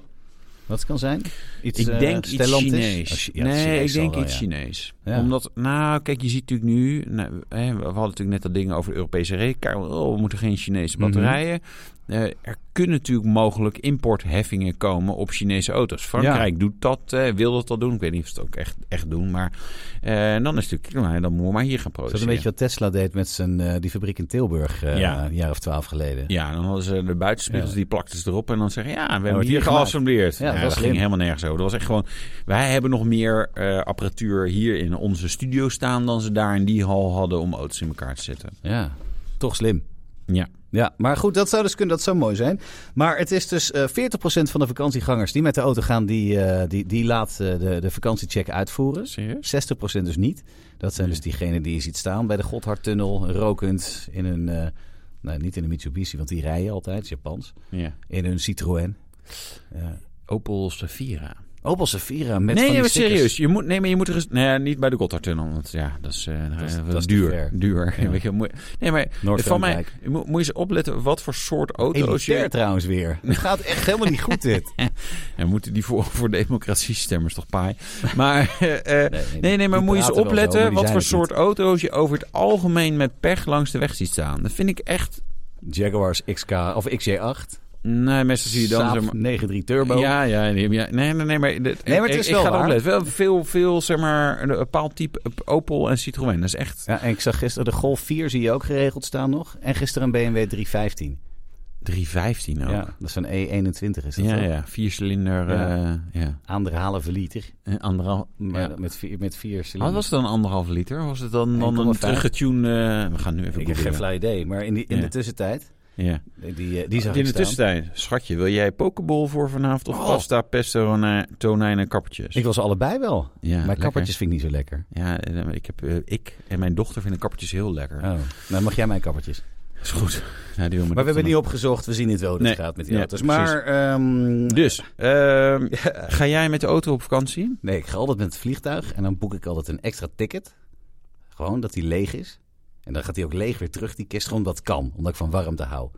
Wat het kan zijn? Iets, Ik eh, denk iets Stellantis? Chinees. Oh, Chi- ja, nee, Chinees ik denk zal wel, iets ja. Chinees. Ja. Omdat, nou, kijk, je ziet natuurlijk nu... Nou, hè, we hadden natuurlijk net dat ding over de Europese rekenkamer. Oh, we moeten geen Chinese Mhm. batterijen. Eh, er kunnen natuurlijk mogelijk importheffingen komen op Chinese auto's. Frankrijk doet dat, eh, wil dat dat doen. Ik weet niet of ze het ook echt, echt doen. Maar eh, dan is het natuurlijk... nou, dan moeten we maar hier gaan Is dat produceren. een beetje wat Tesla deed met zijn, eh, die fabriek in Tilburg eh, Ja. een jaar of twaalf geleden? Ja, dan hadden ze de buitenspiegels, Ja. die plakten ze erop. En dan zeggen, ja, we hebben wordt hier hier gemaakt. geassembleerd. Ja, Ja, dat dat, was ging slim. helemaal nergens over. Dat was echt gewoon, wij hebben nog meer eh, apparatuur hier in onze studio staan... dan ze daar in die hal hadden om auto's in elkaar te zetten. Ja, toch slim. Ja. Ja, maar goed, dat zou dus kunnen, dat zou mooi zijn. Maar het is dus eh 40% van de vakantiegangers die met de auto gaan, die, eh, die, die laat eh, de, de vakantiecheck uitvoeren. 60% Serieus? dus niet. Dat zijn dus diegenen die je ziet staan bij de Godhardtunnel, rokend in een, eh, nou niet in een Mitsubishi, want die rijden altijd, Japans, Ja. in hun Citroën. Ja. Opel Safira. Opel Safira met nee, van die maar stickers. serieus. Je moet, nee, maar je moet er eens... Nee, niet bij de Gotthardtunnel. Want ja, dat is, eh, is- eh, dat is te duur. ver. Duur. Ja. Weet je, moet- nee, maar van mij, Noord-Frankrijk. mo- moet je eens opletten wat voor soort auto's Elitair je... trouwens weer. Het gaat echt helemaal niet goed dit. En moeten die voor, voor democratie-stemmers toch paai. Maar eh, eh, Nee, nee, Nee, nee, maar die moet je eens praten wel zo, opletten maar die wat zijn voor het niet. soort auto's je over het algemeen met pech langs de weg ziet staan. Dat vind ik echt. Jaguars XK of XJ8. Nee, meestal zie je dan. zeg Saab maar- 9.3 Turbo. Ja, ja, nee, ja. Nee, nee, nee, maar, dit- Nee, maar het is ik, wel ik ga waar. opletten. Wel veel, veel, zeg maar, een bepaald type Opel en Citroën. Dat is echt Ja, en ik zag gisteren de Golf 4 zie je ook geregeld staan nog. En gisteren een BMW 315. 315 ook. Ja, Ja, dat is een E21 is dat ja, toch? viercilinder. Ja. eh, ja. Anderhalve liter. En anderhalf. Maar ja. met, vier, met vier cilinders. Wat was het dan anderhalf liter? Of Was het dan, dan een 1,5? teruggetune? eh, we gaan nu even Ik heb geen googlen. flauw idee. Maar in, die, in Ja. de tussentijd, Ja. die, eh, die zag In ik de staan. tussentijd, schatje, wil jij pokeball voor vanavond of Oh. pasta, pesto, tonijn- tonijn en kappertjes? Ik was allebei wel. Ja, maar lekker. kappertjes vind ik niet zo lekker. Ja, eh, ik, heb, eh, ik en mijn dochter vinden kappertjes heel lekker. Oh, nou mag jij mijn kappertjes. Is goed. Ja, die wil Maar mijn dochter we hebben niet nog. opgezocht. We zien niet wel hoe het Nee. gaat met die Ja, auto's. precies. Maar, ehm, Dus, ehm, ga jij met de auto op vakantie? nee, ik ga altijd met het vliegtuig. En dan boek ik altijd een extra ticket. Gewoon dat die leeg is. En dan gaat die ook leeg weer terug, die kist. Gewoon dat kan, omdat ik van warmte hou.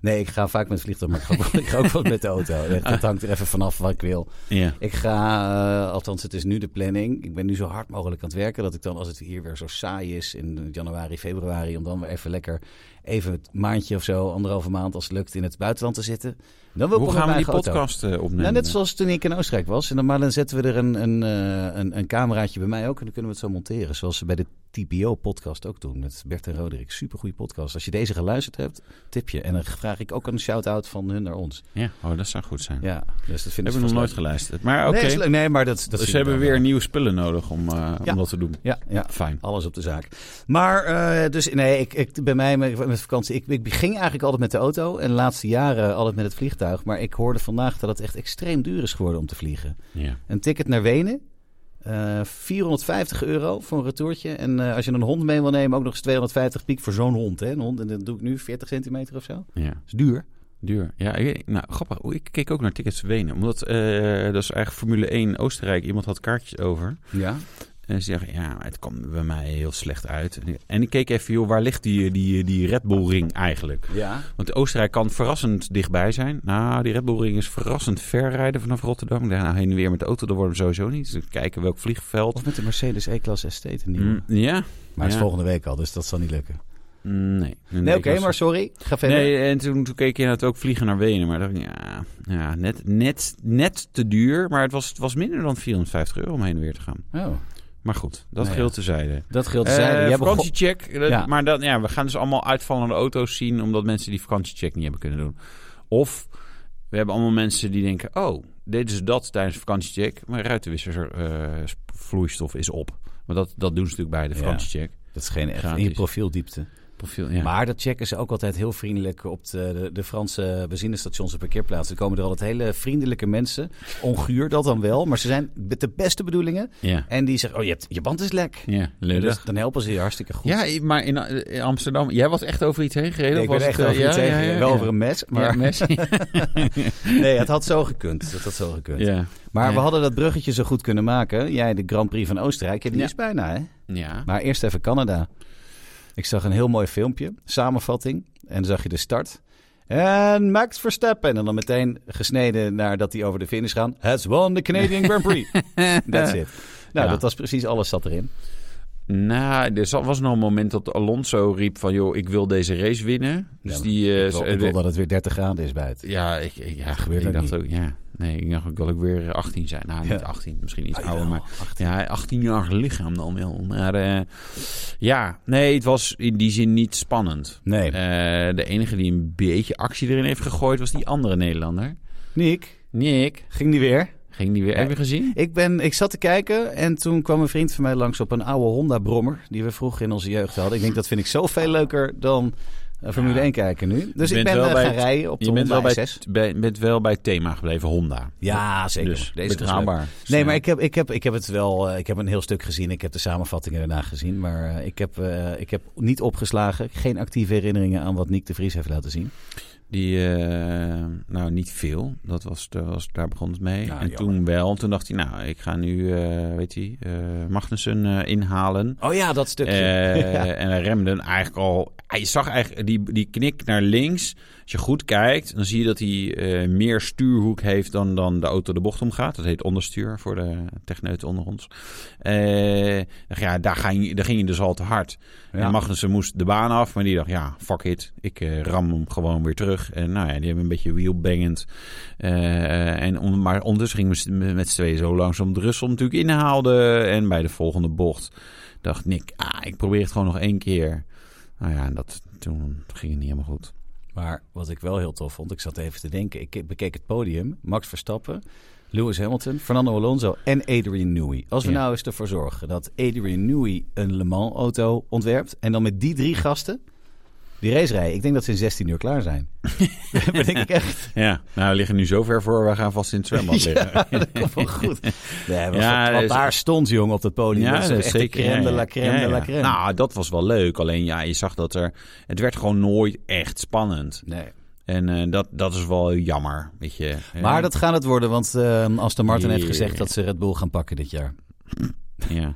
Nee, ik ga vaak met het vliegtuig, maar ik ga ook, ik ga ook wel met de auto. Dat hangt er even vanaf wat ik wil. Ja. Ik ga, eh, althans het is nu de planning. Ik ben nu zo hard mogelijk aan het werken. Dat ik dan als het hier weer zo saai is in januari, februari. Om dan weer even lekker even het maandje of zo, anderhalve maand als het lukt in het buitenland te zitten. Dan wil ik Hoe op mijn gaan we die eigen auto. podcast eh, opnemen? Nou, net zoals toen ik in Oostenrijk was. En dan, maar dan zetten we er een, een, eh, een, een cameraatje bij mij ook. En dan kunnen we het zo monteren. Zoals ze bij de TPO-podcast ook doen. Met Bert en Roderick. Supergoeie podcast. Als je deze geluisterd hebt, tip je. En dan vraag ik ook een shout-out van hun naar ons. Ja, oh, dat zou goed zijn. Ja, dus dat vinden Dat ze hebben we nog vast nooit leuk. geluisterd. Maar oké, Nee, is leuk. nee, maar dat, dat dus zien ze hebben dan weer wel. nieuwe spullen nodig om, eh, Ja. om dat te doen. Ja, ja. Fijn. Alles op de zaak. Maar, eh, dus nee, ik, ik, bij mij met, met vakantie, ik, ik ging eigenlijk altijd met de auto. En de laatste jaren altijd met het vliegtuig. Maar ik hoorde vandaag dat het echt extreem duur is geworden om te vliegen. Ja. Een ticket naar Wenen. eh, 450 euro voor een retourtje. En eh, als je een hond mee wil nemen, ook nog eens 250 piek voor zo'n hond. Hè? Een hond, en dat doe ik nu 40 centimeter of zo. Dat ja. is duur. Duur. Ja, ik weet- nou grappig. Oeh, Ik keek ook naar tickets Wenen. Omdat, eh, dat is eigenlijk Formule 1 Oostenrijk. Iemand had kaartjes over. Ja. En ze zeggen, ja, maar het kwam bij mij heel slecht uit. En ik keek even, joh, waar ligt die, die, die Red Bull ring eigenlijk? ja. Want Oostenrijk kan verrassend dichtbij zijn. Nou, die Red Bull ring is verrassend ver rijden vanaf Rotterdam. Ik dacht, nou, heen en weer met de auto, dat worden we sowieso niet. Dus kijken welk vliegveld. Of met de Mercedes E-Class Estate. Een nieuwe. Mm, ja? Maar het is Ja. volgende week al, dus dat zal niet lukken. Mm, Nee. Nee, ik oké, was- maar sorry. Ga verder. Nee, en toen, toen keek je naar het ook vliegen naar Wenen. Maar dacht ik, ja, ja net, net, net te duur. Maar het was, het was minder dan 450 euro om heen en weer te gaan. Oh. Maar goed, dat Nou ja. geldt tezijde. Dat geldt Eh, zijde. vakantiecheck. dat- Ja. Maar dan, ja, we gaan dus allemaal uitvallende auto's zien... omdat mensen die vakantiecheck niet hebben kunnen doen. Of we hebben allemaal mensen die denken... oh, deden ze dat tijdens vakantiecheck... maar ruitenwissersvloeistof is op. Maar dat, dat doen ze natuurlijk bij de Ja. vakantiecheck. dat is geen echt in je Gratis. profieldiepte. Profiel, ja. Maar dat checken ze ook altijd heel vriendelijk op de, de, de Franse benzinestations en parkeerplaatsen. Er komen er altijd hele vriendelijke mensen. Onguur dat dan wel, maar ze zijn met de beste bedoelingen. ja. En die zeggen, oh, je, hebt, je band is lek. Ja, En lullig. Dus dan helpen ze je hartstikke goed. Ja, maar in, eh, in Amsterdam... Jij was echt over iets heen gereden? Nee, of ik ben was echt het, eh, over ja, iets heen ja, ja, gereden. wel ja. over een mes, maar Ja, mes. nee, het had zo gekund. Dat had zo gekund. ja. Maar we Ja. hadden dat bruggetje zo goed kunnen maken. Jij, de Grand Prix van Oostenrijk, ja, die Ja. is bijna, hè? ja. Maar eerst even Canada. Ik zag een heel mooi filmpje, samenvatting. En dan zag je de start. En Max Verstappen. En dan meteen gesneden naar dat hij over de finish gaan. Has won the Canadian Grand Prix. That's it. Nou, Ja. dat was precies alles zat erin. Nou, er zat- was nog een moment dat Alonso riep van... joh, ik wil deze race winnen. Dus Ja, die... eh, Ik wil, ze- ik wil dat het weer 30 graden is buiten. Ja, ik, ik- ja, gebeurt ik ook dacht niet. ook... Ja, nee, ik dacht ook dat ik weer 18 zijn. Nou, Ja. niet 18, misschien iets Ah, ouder, jawel, maar... Ja, 18-jarig lichaam dan wel. Maar eh, ja, nee, het was in die zin niet spannend. Nee. Eh, de enige die een beetje actie erin heeft gegooid was die andere Nederlander. Nick, Nick, ging die weer? ging die weer... Heb je gezien? Ik, ben, ik zat te kijken en toen kwam een vriend van mij langs op een oude Honda-brommer. Die we vroeger in onze jeugd hadden. Ik denk dat vind ik zoveel leuker dan eh, Formule Ah. Ja. 1 kijken nu. Dus Je ik bent ben wel eh, bij gaan het- rijden op de Je bent wel Honda bij, S6. bij- bent wel bij het thema gebleven, Honda. Ja, zeker. Dus Deze was leuk. betrouwbaar. Nee, maar ik heb, ik, heb, ik heb het wel. eh, Ik heb een heel stuk gezien. Ik heb de samenvattingen daarna gezien. Maar eh, ik heb, eh, ik heb niet opgeslagen. Geen actieve herinneringen aan wat Nick de Vries heeft laten zien. Die, eh, nou niet veel. Dat was, dat was, daar begon het mee. Ja, en Nou, jammer. toen wel. Toen dacht hij, nou, ik ga nu, eh, weet hij, eh, Magnussen eh, inhalen. Oh ja, dat stukje. Eh, En hij remde hem eigenlijk al. Hij zag eigenlijk die, die knik naar links. Als je goed kijkt, dan zie je dat hij eh, meer stuurhoek heeft dan, dan de auto de bocht omgaat. Dat heet onderstuur voor de techneuten onder ons. Eh, ja, daar ging, je- daar ging je dus al te hard. En Magnussen moest de baan af, maar die dacht, ja, fuck it. Ik eh, ram hem gewoon weer terug. En nou ja, die hebben een beetje wheelbangend. Eh, en on, maar ondertussen gingen we met- met z'n tweeën zo langzaam de Russel natuurlijk inhaalde. En bij de volgende bocht dacht Nick, ah, ik probeer het gewoon nog één keer. Nou ja, en dat, toen ging het niet helemaal goed. Maar wat ik wel heel tof vond, ik zat even te denken. Ik bekeek het podium. Max Verstappen, Lewis Hamilton, Fernando Alonso en Adrian Newey. Als we Ja. nou eens ervoor zorgen dat Adrian Newey een Le Mans auto ontwerpt. En dan met die drie gasten die race rijden. Ik denk dat ze in 16 uur klaar zijn. dat denk ik echt. Ja, nou, we liggen nu zo ver voor. We gaan vast in het zwembad liggen. Ja, dat komt wel goed. Nee, maar Ja, wat, wat is- daar stond, jongen, op dat podium. Ja, dat is dat echt de crème ja, de ja. la crème Ja, de la ja. crème. Nou, dat was wel leuk. Alleen ja, je zag dat er... Het werd gewoon nooit echt spannend. nee. En eh, dat, dat is wel jammer, weet je. Maar dat gaat het worden, want ehm Aston Martin heeft Ja. gezegd dat ze Red Bull gaan pakken dit jaar. Ja.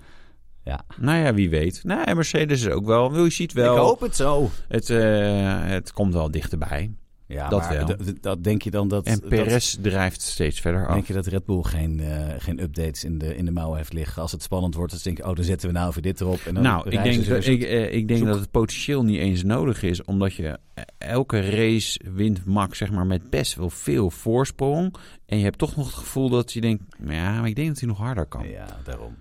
Ja. Nou ja, wie weet. Nou, en Mercedes is ook wel. Je ziet wel, Ik hoop het zo. Het, eh, het komt wel dichterbij. Ja, Dat maar wel. d- d- Dat denk je dan dat... En dat- Perez drijft steeds verder af. Denk je dat Red Bull geen, eh, geen updates in de, in de mouwen heeft liggen? Als het spannend wordt, dan denk ik, oh, dan zetten we nou even dit erop. En dan Nou, ik reizen denk, ze dus- dat, weer ik, eh, ik denk zoek. dat het potentieel niet eens nodig is. Omdat je eh, elke race wint Max zeg maar, met best wel veel voorsprong. En je hebt toch nog het gevoel dat je denkt... Ja, maar ik denk dat hij nog harder zo- kan. Ja, daarom.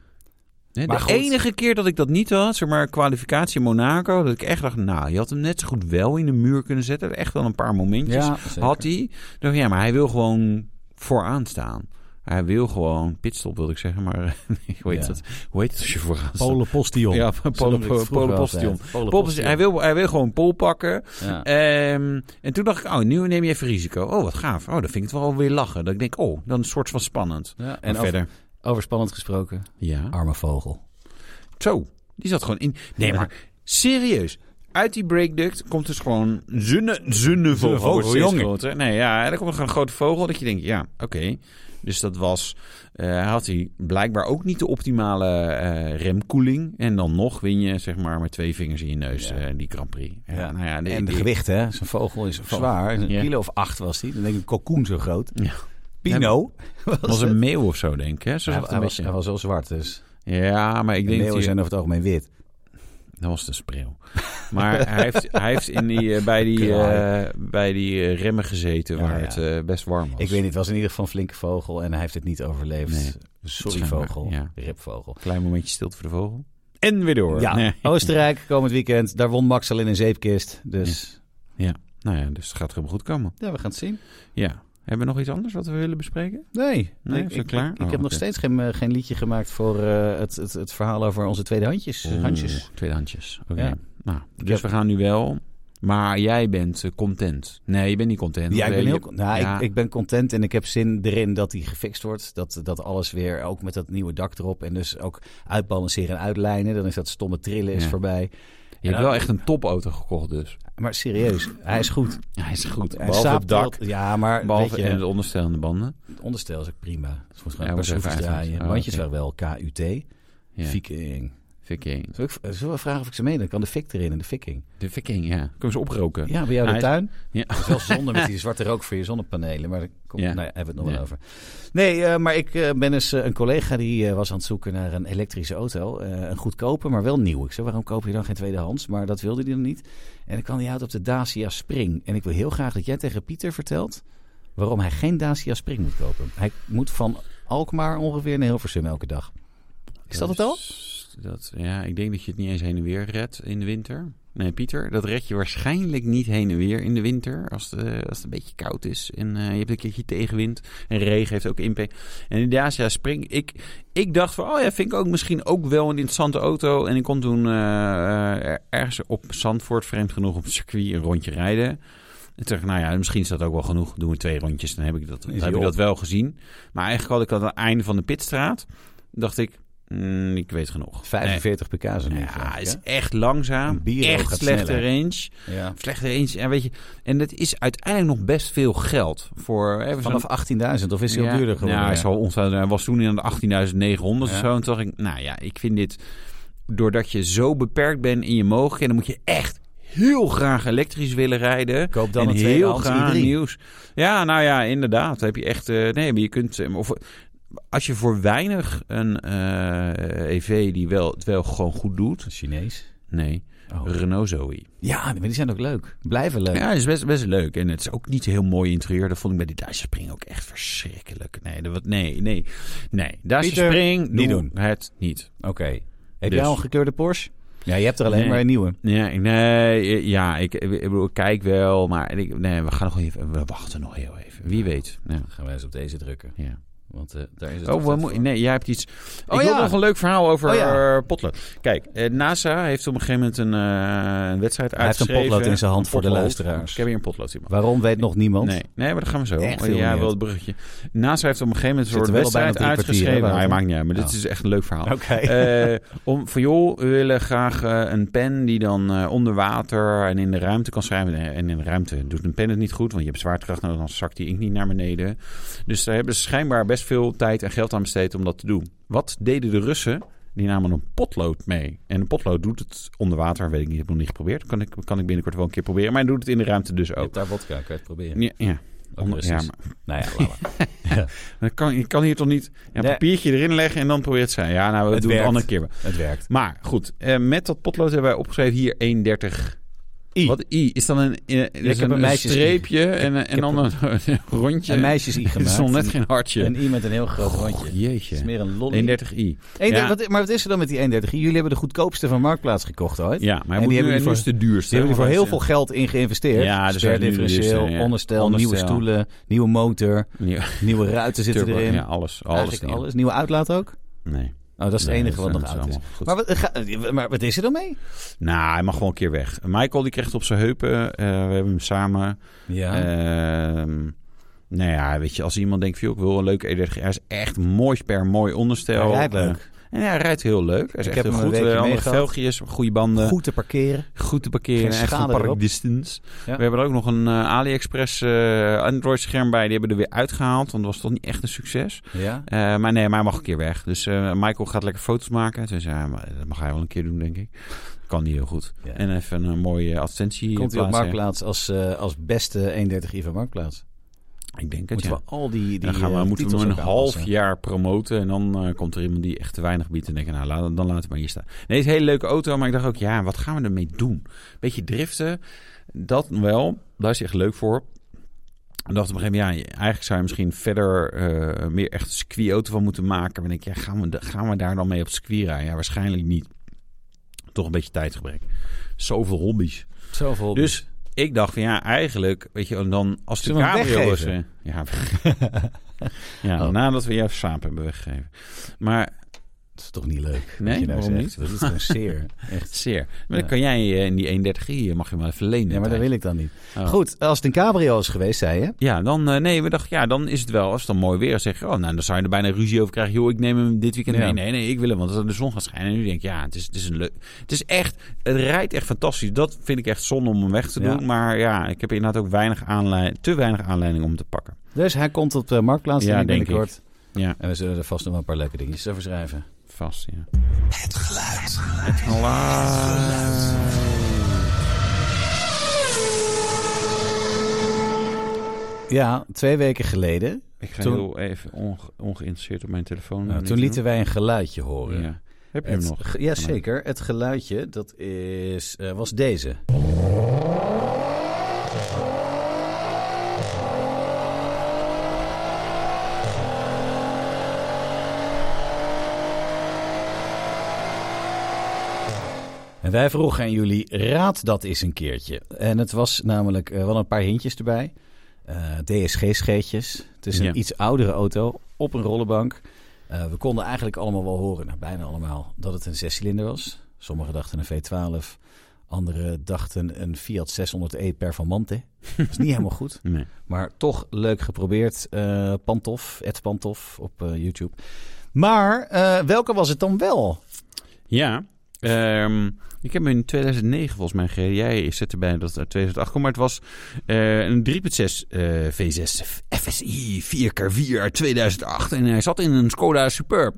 Hè, Maar de goed. enige keer dat ik dat niet had, zeg maar kwalificatie in Monaco... dat ik echt dacht, nou, je had hem net zo goed wel in de muur kunnen zetten. Er Echt wel een paar momentjes. zeker. Had hij. Dacht, ik, ja, maar hij wil gewoon vooraan staan. Hij wil gewoon pitstop, wilde ik zeggen. Maar ik weet Ja. dat. Hoe heet het als je vooraan staat? Polen Postion. Ja, Zo Polen- noemde ik het vroeger Polen altijd. Postion. Polen Pol- hij, wil, hij wil gewoon pol pakken. Ja. Ehm, en toen dacht ik, oh, nu neem je even risico. Oh, wat gaaf. Oh, dan vind ik het wel weer lachen. Dat ik denk, oh, dan een soort van spannend. Ja, En en over, verder. over spannend gesproken, Ja. arme vogel. Zo, die zat gewoon in. Nee, maar serieus. Uit die breakduct komt dus gewoon zunne, zunne vogel. vogel, Wordt steeds jongen. groter. Nee, ja, en dan komt er gewoon een grote vogel dat je denkt, ja, oké. Dus dat was, eh, had hij blijkbaar ook niet de optimale eh, remkoeling. En dan nog win je, zeg maar, met twee vingers in je neus Ja. eh, die Grand Prix. Ja, Ja. nou ja, de- en de die- gewicht, hè? Zo'n vogel is zwaar. Een Ja. kilo of acht was hij. Dan denk ik een kokoen zo groot. Ja. Pino. was een meeuw of zo, denk ik. Hè? Zo Hij, zag het hij een was, beetje. hij was wel zwart, dus. Ja, maar ik denk dat Meeuwen hij- zijn over het algemeen wit. Dat was de spreeuw. Maar hij heeft, hij heeft in die, eh, bij die, eh, bij die eh, remmen gezeten Ja, waar ja. het eh, best warm was. Ik weet niet, het was in ieder geval een flinke vogel en hij heeft het niet overleefd. Nee. Sorry Schijnbaar, vogel, ja. ripvogel. Klein momentje stilte voor de vogel. En weer door. Ja, Oh. Nee. Oostenrijk komend weekend. Daar won Max al in een zeepkist. Dus Nou ja, dus het gaat helemaal goed komen. ja, we gaan het zien. Ja. Hebben we nog iets anders wat we willen bespreken? Nee, Nee, ik, is dat ik- klaar? Ik, ik Oh, heb nog oké. steeds geen, eh, geen liedje gemaakt voor eh, het, het, het verhaal over onze tweede handjes. handjes. Oeh, Twee handjes. Oké. Ja. Nou, dus heb- we gaan nu wel. Maar jij bent eh, content. Nee, je bent niet content. Ja, ik Want, ben, eh, heel, je- con- nou, ja. ik, ik ben content en ik heb zin erin dat die gefixt wordt. Dat, dat alles weer, ook met dat nieuwe dak erop. En dus ook uitbalanceren en uitlijnen. Dan is dat stomme trillen is Ja. voorbij. Je hebt wel echt een topauto gekocht dus. Maar serieus, hij is goed. Ja, hij is goed. Hij Behalve saapt het dak. wel- Ja, maar Behalve weet je, en de ondersteunende banden. het onderstel is ook prima. Het moet Ja, gewoon een paar moet even schroefjes uitgaan. draaien. Oh, Bandjes oké. waren wel KUT. Ja. Viking. Viking. Zullen we, zullen we vragen of ik ze mee? Dan kan de fik erin en de viking. De viking, ja. Kunnen we ze oproken? Ja, bij jou in Nou, Hij de is- tuin? Ja. Dat is wel zonde met die zwarte rook voor je zonnepanelen. Maar daar kom, Ja. nou ja, hebben we het nog wel Ja. over. Nee, eh, maar ik eh, ben eens eh, een collega die eh, was aan het zoeken naar een elektrische auto. Eh, een goedkope, maar wel nieuw. Ik zei, waarom koop je dan geen tweedehands? Maar dat wilde hij dan niet. En ik kwam die uit op de Dacia Spring. En ik wil heel graag dat jij tegen Pieter vertelt waarom hij geen Dacia Spring moet kopen. Hij moet van Alkmaar ongeveer naar Hilversum elke dag. Is dat het al? Dat, ja, ik denk dat je het niet eens heen en weer redt in de winter. Nee, Pieter, dat red je waarschijnlijk niet heen en weer in de winter. Als, de, als het een beetje koud is en eh, je hebt een keertje tegenwind. En regen heeft ook impact. En in Dacia Spring, ik, ik dacht van, oh ja, vind ik ook misschien ook wel een interessante auto. En ik kon toen eh, eh, er- ergens op Zandvoort, vreemd genoeg, op het circuit een rondje rijden. En toen dacht ik, nou ja, misschien is dat ook wel genoeg. Doen we twee rondjes, dan heb ik dat, dan Is heb hij ik dat op. wel gezien. Maar eigenlijk had ik aan het einde van de pitstraat, dacht ik, mm, ik weet genoeg. 45 pk is een Nee. beetje, Ja, hè? is echt langzaam. Een Biro echt gaat slechte sneller. range. Ja. Slechte range. En, weet je, en dat is uiteindelijk nog best veel geld. Voor, even Vanaf 18.000 of is hij al duurder geworden? Ja, Nou, hij, Ja. zal ongetwijfeld- hij was toen in de 18.900 of Ja. zo. En toen dacht ik, nou ja, ik vind dit... Doordat je zo beperkt bent in je mogelijkheden... dan moet je echt heel graag elektrisch willen rijden. Koop dan en een heel tweedehands graag i3. nieuws. Ja, nou ja, inderdaad. Heb je echt... eh, nee, maar je kunt... eh, of, als je voor weinig een eh, EV die wel, het wel gewoon goed doet... Chinees. Oh. Nee, Renault Zoe. Ja, maar die zijn ook leuk. Blijven leuk. Ja, het is best, best leuk. En het is ook niet een heel mooi interieur. Dat vond ik bij die Dacia Spring ook echt verschrikkelijk. Nee, dat, wat- nee, nee. Nee, Dacia Pieter, Spring, niet doe doen. Het niet. Oké. Heb Dus. jij al een gekleurde Porsche? Ja, je hebt er alleen Nee. maar een nieuwe. Ja, ik- nee, eh, ja, ik, ik, bedoel, ik kijk wel. Maar ik, nee, we gaan nog even... We wachten nog heel even. Wie weet. Ja. gaan wij eens op deze drukken. ja. Want eh, daar is Oh, we moeten- nee, jij hebt iets. Oh, ik wil ja. nog een leuk verhaal over Oh, ja. eh, potlood. Kijk, eh, NASA heeft op een gegeven moment een, eh, een wedstrijd Hij heeft een uitgeschreven. potlood in zijn hand Een voor de potlood. luisteraars. Ik heb hier een potlood, Simon. Waarom weet nog niemand? Nee, nee, maar dat gaan we zo. Oh, Echt heel ja, benieuwd. wel het bruggetje. NASA heeft op een gegeven moment een Zitten soort we wel bijna wedstrijd op drie kwartier, uitgeschreven. hè, Nee, Wouter? maakt niet uit, maar dit Oh. is echt een leuk verhaal. Oké. Eh, om van joh, we willen graag eh, een pen die dan eh, onder water en in de ruimte kan schrijven. Nee, En in de ruimte doet een pen het niet goed, want je hebt zwaartekracht nodig, dan zakt die inkt niet naar beneden. Dus daar hebben ze schijnbaar best veel tijd en geld aan besteed om dat te doen. Wat deden de Russen? Die namen een potlood mee. En een potlood doet het onder water, weet ik niet, heb ik nog niet geprobeerd. Kan ik, kan ik binnenkort wel een keer proberen. Maar hij doet het in de ruimte dus Je hebt ook. daar vodka, kan je het proberen. Ja, ja. Ook Onder- ja, Russisch. maar Nou ja, laat maar. dan kan, je kan hier toch niet een Nee. papiertje erin leggen en dan probeer je het zijn. Ja, nou, we Het doen het werkt. andere keer. wel. het werkt. Maar goed, eh, met dat potlood hebben wij opgeschreven hier 130. I. Wat I? Is dan een, eh, is heb een, een een meisjes- streepje en, en heb dan een, rondje. Een meisjes i Het is gemaakt. nog net geen hartje. Een i met een heel groot rondje. Het is Jeetje. meer een lolly. 31 I. Eén- Ja. wat, maar wat is er dan met die 31? Jullie hebben de goedkoopste van Marktplaats gekocht ooit. Ja, maar hij En moet die nu, hebben en we nu is de duurste. Die hebben er voor hè, heel want veel geld in geïnvesteerd. Ja, dus dat is nu de differentieel, duurste, ja. onderstel, nieuwe Onderstel. stoelen, nieuwe motor, hij- Ja, nieuwe ruiten zitten turbo, erin. ja, alles. Alles. Eigenlijk niet. alles. Nieuwe uitlaat ook? Nee. Oh, dat is het Nee, enige wat dat nog is oud is. allemaal goed. Maar wat, eh, ga- maar wat is er dan mee? Nou, hij mag gewoon een keer weg. Michael die kreeg het op zijn heupen. Eh, we hebben hem samen. Ja. Ehm, nou ja, weet je, als iemand denkt, van, joh, ik wil een leuke E30. Hij is echt mooi sper, mooi onderstel. Hij rijdt Eh, leuk. en ja, hij rijdt heel leuk. Hij is Ik echt heb heel hem een goed. weekje eh, Andere meegehad. velgjes, goede banden. Goed, Goed te parkeren. te parkeren. Geen Echt een schade park erop. distance. Ja. We hebben er ook nog een eh, AliExpress eh, Android scherm bij. Die hebben we er weer uitgehaald. Want dat was toch niet echt een succes. Ja. Eh, maar nee, maar hij mag een keer weg. Dus eh, Michael gaat lekker foto's maken. Dus ja, maar dat mag hij wel een keer doen, denk ik. Kan die heel goed. Ja. En even een mooie advertentie Komt hij op plaatsen. Marktplaats als, eh, als beste 31 i van Marktplaats? Ik denk het, Moeten ja. we al die, die dan gaan we, eh, moeten we titels hem een ook half aanpassen. jaar promoten. En dan eh, komt er iemand die echt te weinig biedt. En denken, nou, laat, dan laten we maar hier staan. Nee, het is een hele leuke auto. Maar ik dacht ook, ja, wat gaan we ermee doen? Beetje driften. Dat wel. Daar is echt leuk voor. Ik dacht op een gegeven moment, ja, eigenlijk zou je misschien verder eh, meer echt een circuitauto van moeten maken. Maar ik denk, ja, gaan we, da- gaan we daar dan mee op het circuit rijden? Ja, waarschijnlijk niet. Toch een beetje tijdgebrek. Zoveel hobby's. Zoveel. Dus Dus ik dacht van ja, eigenlijk, weet je, en dan als de Zullen we hem cabrio was. weggeven? eh, Ja, ja Oh. nadat we jouw saap hebben weggegeven. Maar dat is toch niet leuk? Nee, wat je nou waarom zegt. Dat is gewoon zeer. Echt. zeer. Ja. Maar dan kan jij eh, in die 130 i mag je hem wel even lenen. Ja, maar dat Thijs. wil ik dan niet. Oh. Goed, als het een cabrio is geweest, zei je. Ja, dan, eh, nee, we dachten, ja, dan is het wel, als het dan mooi weer is, zeg je, oh, nou, dan zou je er bijna ruzie over krijgen. Joh, ik neem hem dit weekend. Ja. Nee, nee, nee, ik wil hem, want als de zon gaat schijnen. En nu denk ik, ja, het is, het is een leuk, het is echt, het rijdt echt fantastisch. Dat vind ik echt zonde om hem weg te Ja. doen. Maar ja, ik heb inderdaad ook weinig aanleiding, te weinig aanleiding om hem te pakken. Dus hij komt op de marktplaats Ja, ja, denk ik. binnenkort. Ja. En we zullen er vast nog wel een paar leuke dingetjes over schrijven. Vast, ja. Het geluid. Ja, twee weken geleden. Ik ga Toen- heel even onge- ongeïnteresseerd op mijn telefoon. nou, Niet toen te lieten wij een geluidje doen. horen. Ja. Heb je Het- hem nog? ge- Ja, ja, zeker. Het geluidje, dat is, eh, was deze. En wij vroegen aan jullie, raad dat eens een keertje. En het was namelijk eh, wel een paar hintjes erbij. Eh, DSG-scheetjes. Het is een Ja. iets oudere auto op een rollenbank. Eh, we konden eigenlijk allemaal wel horen, nou, bijna allemaal, dat het een zescilinder was. Sommigen dachten een V12. Anderen dachten een Fiat 600e Performante. Dat is niet helemaal goed. Nee. Maar toch leuk geprobeerd. eh, Pantof, Ed Pantof op eh, YouTube. Maar eh, welke was het dan wel? ja ehm, ik heb hem in 2009 volgens mij gereden. Jij zette bij dat het uit 2008 komt. Maar het was eh, een 3.6 eh, V6 FSI 4x4 uit 2008. En hij zat in een Skoda Superb.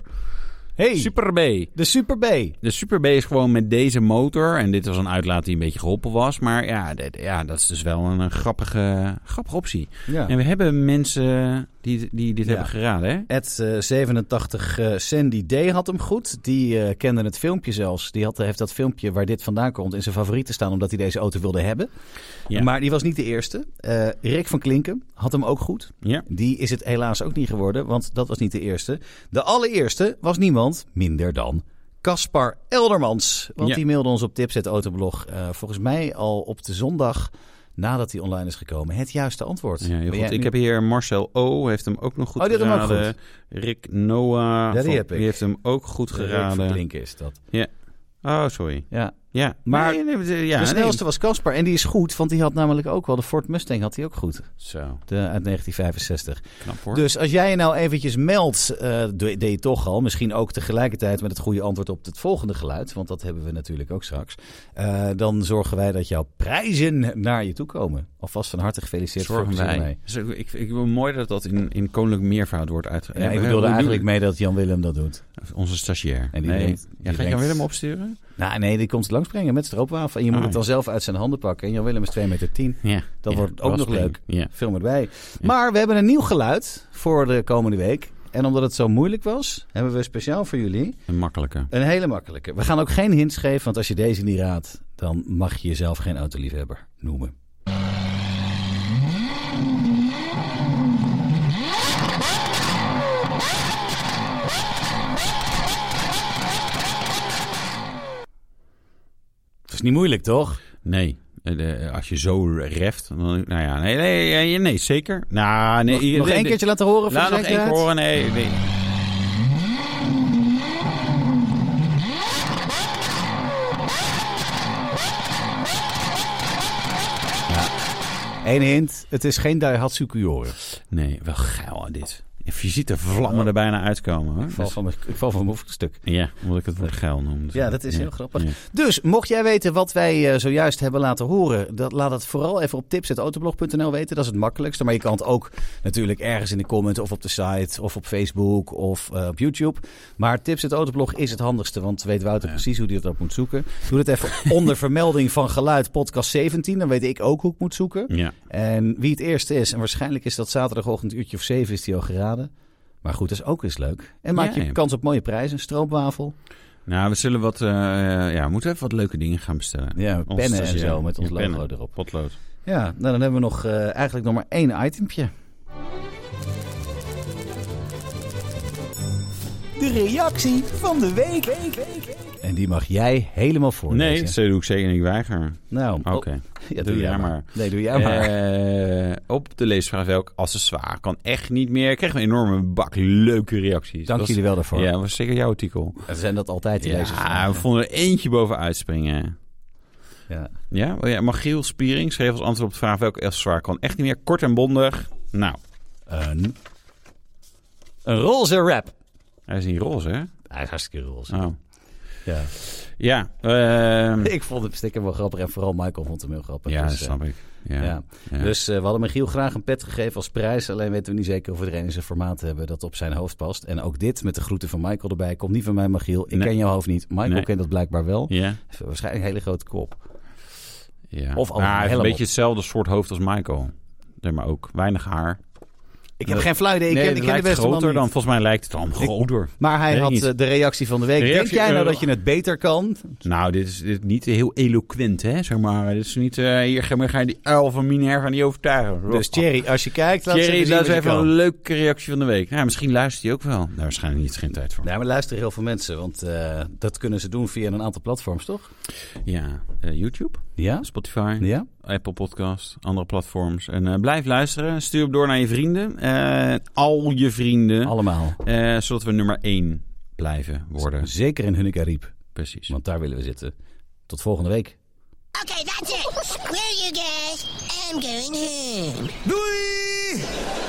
Hey, Super B. de Super B. De Super B is gewoon met deze motor. En dit was een uitlaat die een beetje geholpen was. Maar ja, dit- ja dat is dus wel een, eh, grappige, grappige optie. Ja. En we hebben mensen die, die dit Ja. hebben geraden, hè? Ed eh, 87 eh, Sandy D had hem goed. Die eh, kende het filmpje zelfs. Die had, heeft dat filmpje waar dit vandaan komt in zijn favorieten staan, omdat hij deze auto wilde hebben. Ja. Maar die was niet de eerste. Eh, Rick van Klinken had hem ook goed. Ja. Die is het helaas ook niet geworden, want dat was niet de eerste. De allereerste was niemand minder dan Caspar Eldermans. Want Ja. die mailde ons op Tipset Autoblog eh, volgens mij al op de zondag nadat hij online is gekomen. Het juiste antwoord. Ja, heel Ben goed. jij Ik nu- heb hier Marcel O. heeft hem ook nog goed Oh, die had hem ook geraden. Rick Noah Ja, die van- heb ik. heeft hem ook goed Rick van geraden. Klinken is dat. Oh, sorry. Ja. Ja. Maar Nee, nee, nee, ja, de nee. snelste was Caspar en die is goed, want die had namelijk ook wel de Ford Mustang had hij ook goed. Zo, De, uit 1965. knap hoor. Dus als jij je nou eventjes meldt, eh, doe- deed je toch al. Misschien ook tegelijkertijd met het goede antwoord op het volgende geluid. Want dat hebben we natuurlijk ook straks. Eh, dan zorgen wij dat jouw prijzen naar je toe komen. Alvast van harte gefeliciteerd Zorgen voor het wij. mee. Zo, Ik, ik vind het mooi dat dat in, in koninklijk meervoud wordt Ja, uitgegeven. ik bedoelde eigenlijk mee dat Jan Willem dat doet. Onze stagiair. En die nee. denkt- ja, die ga ik denkt- jou Willem opsturen? Nou, nee, die komt het langsbrengen met stroopwafel. En je moet Ah, het dan zelf uit zijn handen pakken. En Jan Willem is 2 meter 10. Ja. Dat Ja, wordt ook nog prima. leuk. Ja. Film erbij. Maar we hebben een nieuw geluid voor de komende week. En omdat het zo moeilijk was, hebben we speciaal voor jullie Een makkelijke. Een hele makkelijke. We gaan ook geen hints geven, want als je deze niet raadt, dan mag je jezelf geen autoliefhebber noemen. Dat is niet moeilijk, toch? Nee. Eh, de- als je zo reft, dan, nou ja, nee, nee, nee, nee, zeker. Nou, nee, Nog één keertje laten horen voor Laat de nog één keer zekerheid? horen, nee, nee. Eén hint, het is geen Daihatsu Cuore. Nee, wel geil aan dit. Je ziet de vlammen er bijna uitkomen. Hoor. Ik val Dus- van mijn, ik val van mijn stuk. ja, omdat ik het woord geil noemde. Ja, dat is heel grappig. ja. Dus mocht jij weten wat wij eh, zojuist hebben laten horen, dat, laat het vooral even op tips.autoblog.nl weten. Dat is het makkelijkste. Maar je kan het ook natuurlijk ergens in de comment of op de site of op Facebook of eh, op YouTube. Maar tips.autoblog is het handigste, want weet Wouter precies hoe hij dat op moet zoeken. Doe dat even onder vermelding van geluid podcast 17. Dan weet ik ook hoe ik moet zoeken. Ja. En wie het eerste is, en waarschijnlijk is dat zaterdagochtend uurtje of zeven, is die al geraden. Maar goed, dat is ook eens leuk. En maak Ja, je ja. kans op mooie prijzen. Stroopwafel, Nou, we zullen wat... eh, ja, we moeten even wat leuke dingen gaan bestellen. ja, Ons pennen en stagiair. zo met ons Ja, logo pennen. erop. Potlood. Ja, nou, dan hebben we nog eh, eigenlijk nog maar één itempje. De reactie van de week. En die mag jij helemaal voorlezen. Nee, dat doe ik zeker niet. Ik weiger. Nou, Oké. oh, ja, doe, Doe jij jij maar. maar. Nee, doe jij maar. Eh, op de leesvraag welk accessoire kan echt niet meer. Ik kreeg een enorme bak leuke reacties. Dank Dat was- jullie wel daarvoor. Ja, dat was zeker jouw artikel. Zijn dat altijd die Ja, we lezersvragen? vonden er eentje bovenuit springen. Ja. Ja, oh ja, Magiel Spiering schreef als antwoord op de vraag welk accessoire kan echt niet meer. Kort en bondig. Nou, Een, een roze rap. hij is niet roze, hè? Hij is hartstikke roze. Oh. Ja. Ja, ehm, Ik vond het sticker wel grappig en vooral Michael vond hem heel grappig. ja, Dus, dat eh, snap ik. Ja. ja. Ja. Dus eh, we hadden Michiel graag een pet gegeven als prijs. Alleen weten we niet zeker of we er een in zijn formaat hebben dat op zijn hoofd past. En ook dit met de groeten van Michael erbij. Komt niet van mij, Michiel. Ik Nee. ken jouw hoofd niet. Michael Nee. kent dat blijkbaar wel. ja. Waarschijnlijk een hele grote kop. ja. Of al Maar hij heeft helemaal. een beetje hetzelfde soort hoofd als Michael. Zeg maar ook. Weinig haar. Ik heb heb geen flauw idee. Ik nee, ken, het ik lijkt de beste groter dan. Volgens mij lijkt het allemaal groter. Maar hij Nee, had niet. eh, de reactie van de week. De Denk reactie- jij nou eh, dat je het beter kan? Dus Nou, dit is, dit is niet heel eloquent, hè? Zeg maar. Dit is niet. eh, hier ga, ga je die uil van Minerva niet overtuigen. Dus Thierry, als je kijkt, laat Thierry, eens dat is zien wat je even kan. een leuke reactie van de week. Ja, misschien luistert hij ook wel. Daar waarschijnlijk niet geen tijd voor. Nou, maar luisteren heel veel mensen, want eh, dat kunnen ze doen via een aantal platforms, toch? Ja, eh, YouTube, Ja? Spotify, Ja? Apple Podcast, andere platforms. En eh, blijf luisteren. Stuur hem door naar je vrienden. Eh, al je vrienden. Allemaal. Eh, zodat we nummer 1 blijven worden. Zeker in Hunnika Riep, Precies. want daar willen we zitten. Tot volgende week. Okay, that's it. Well, you guys, I'm going home. Doei!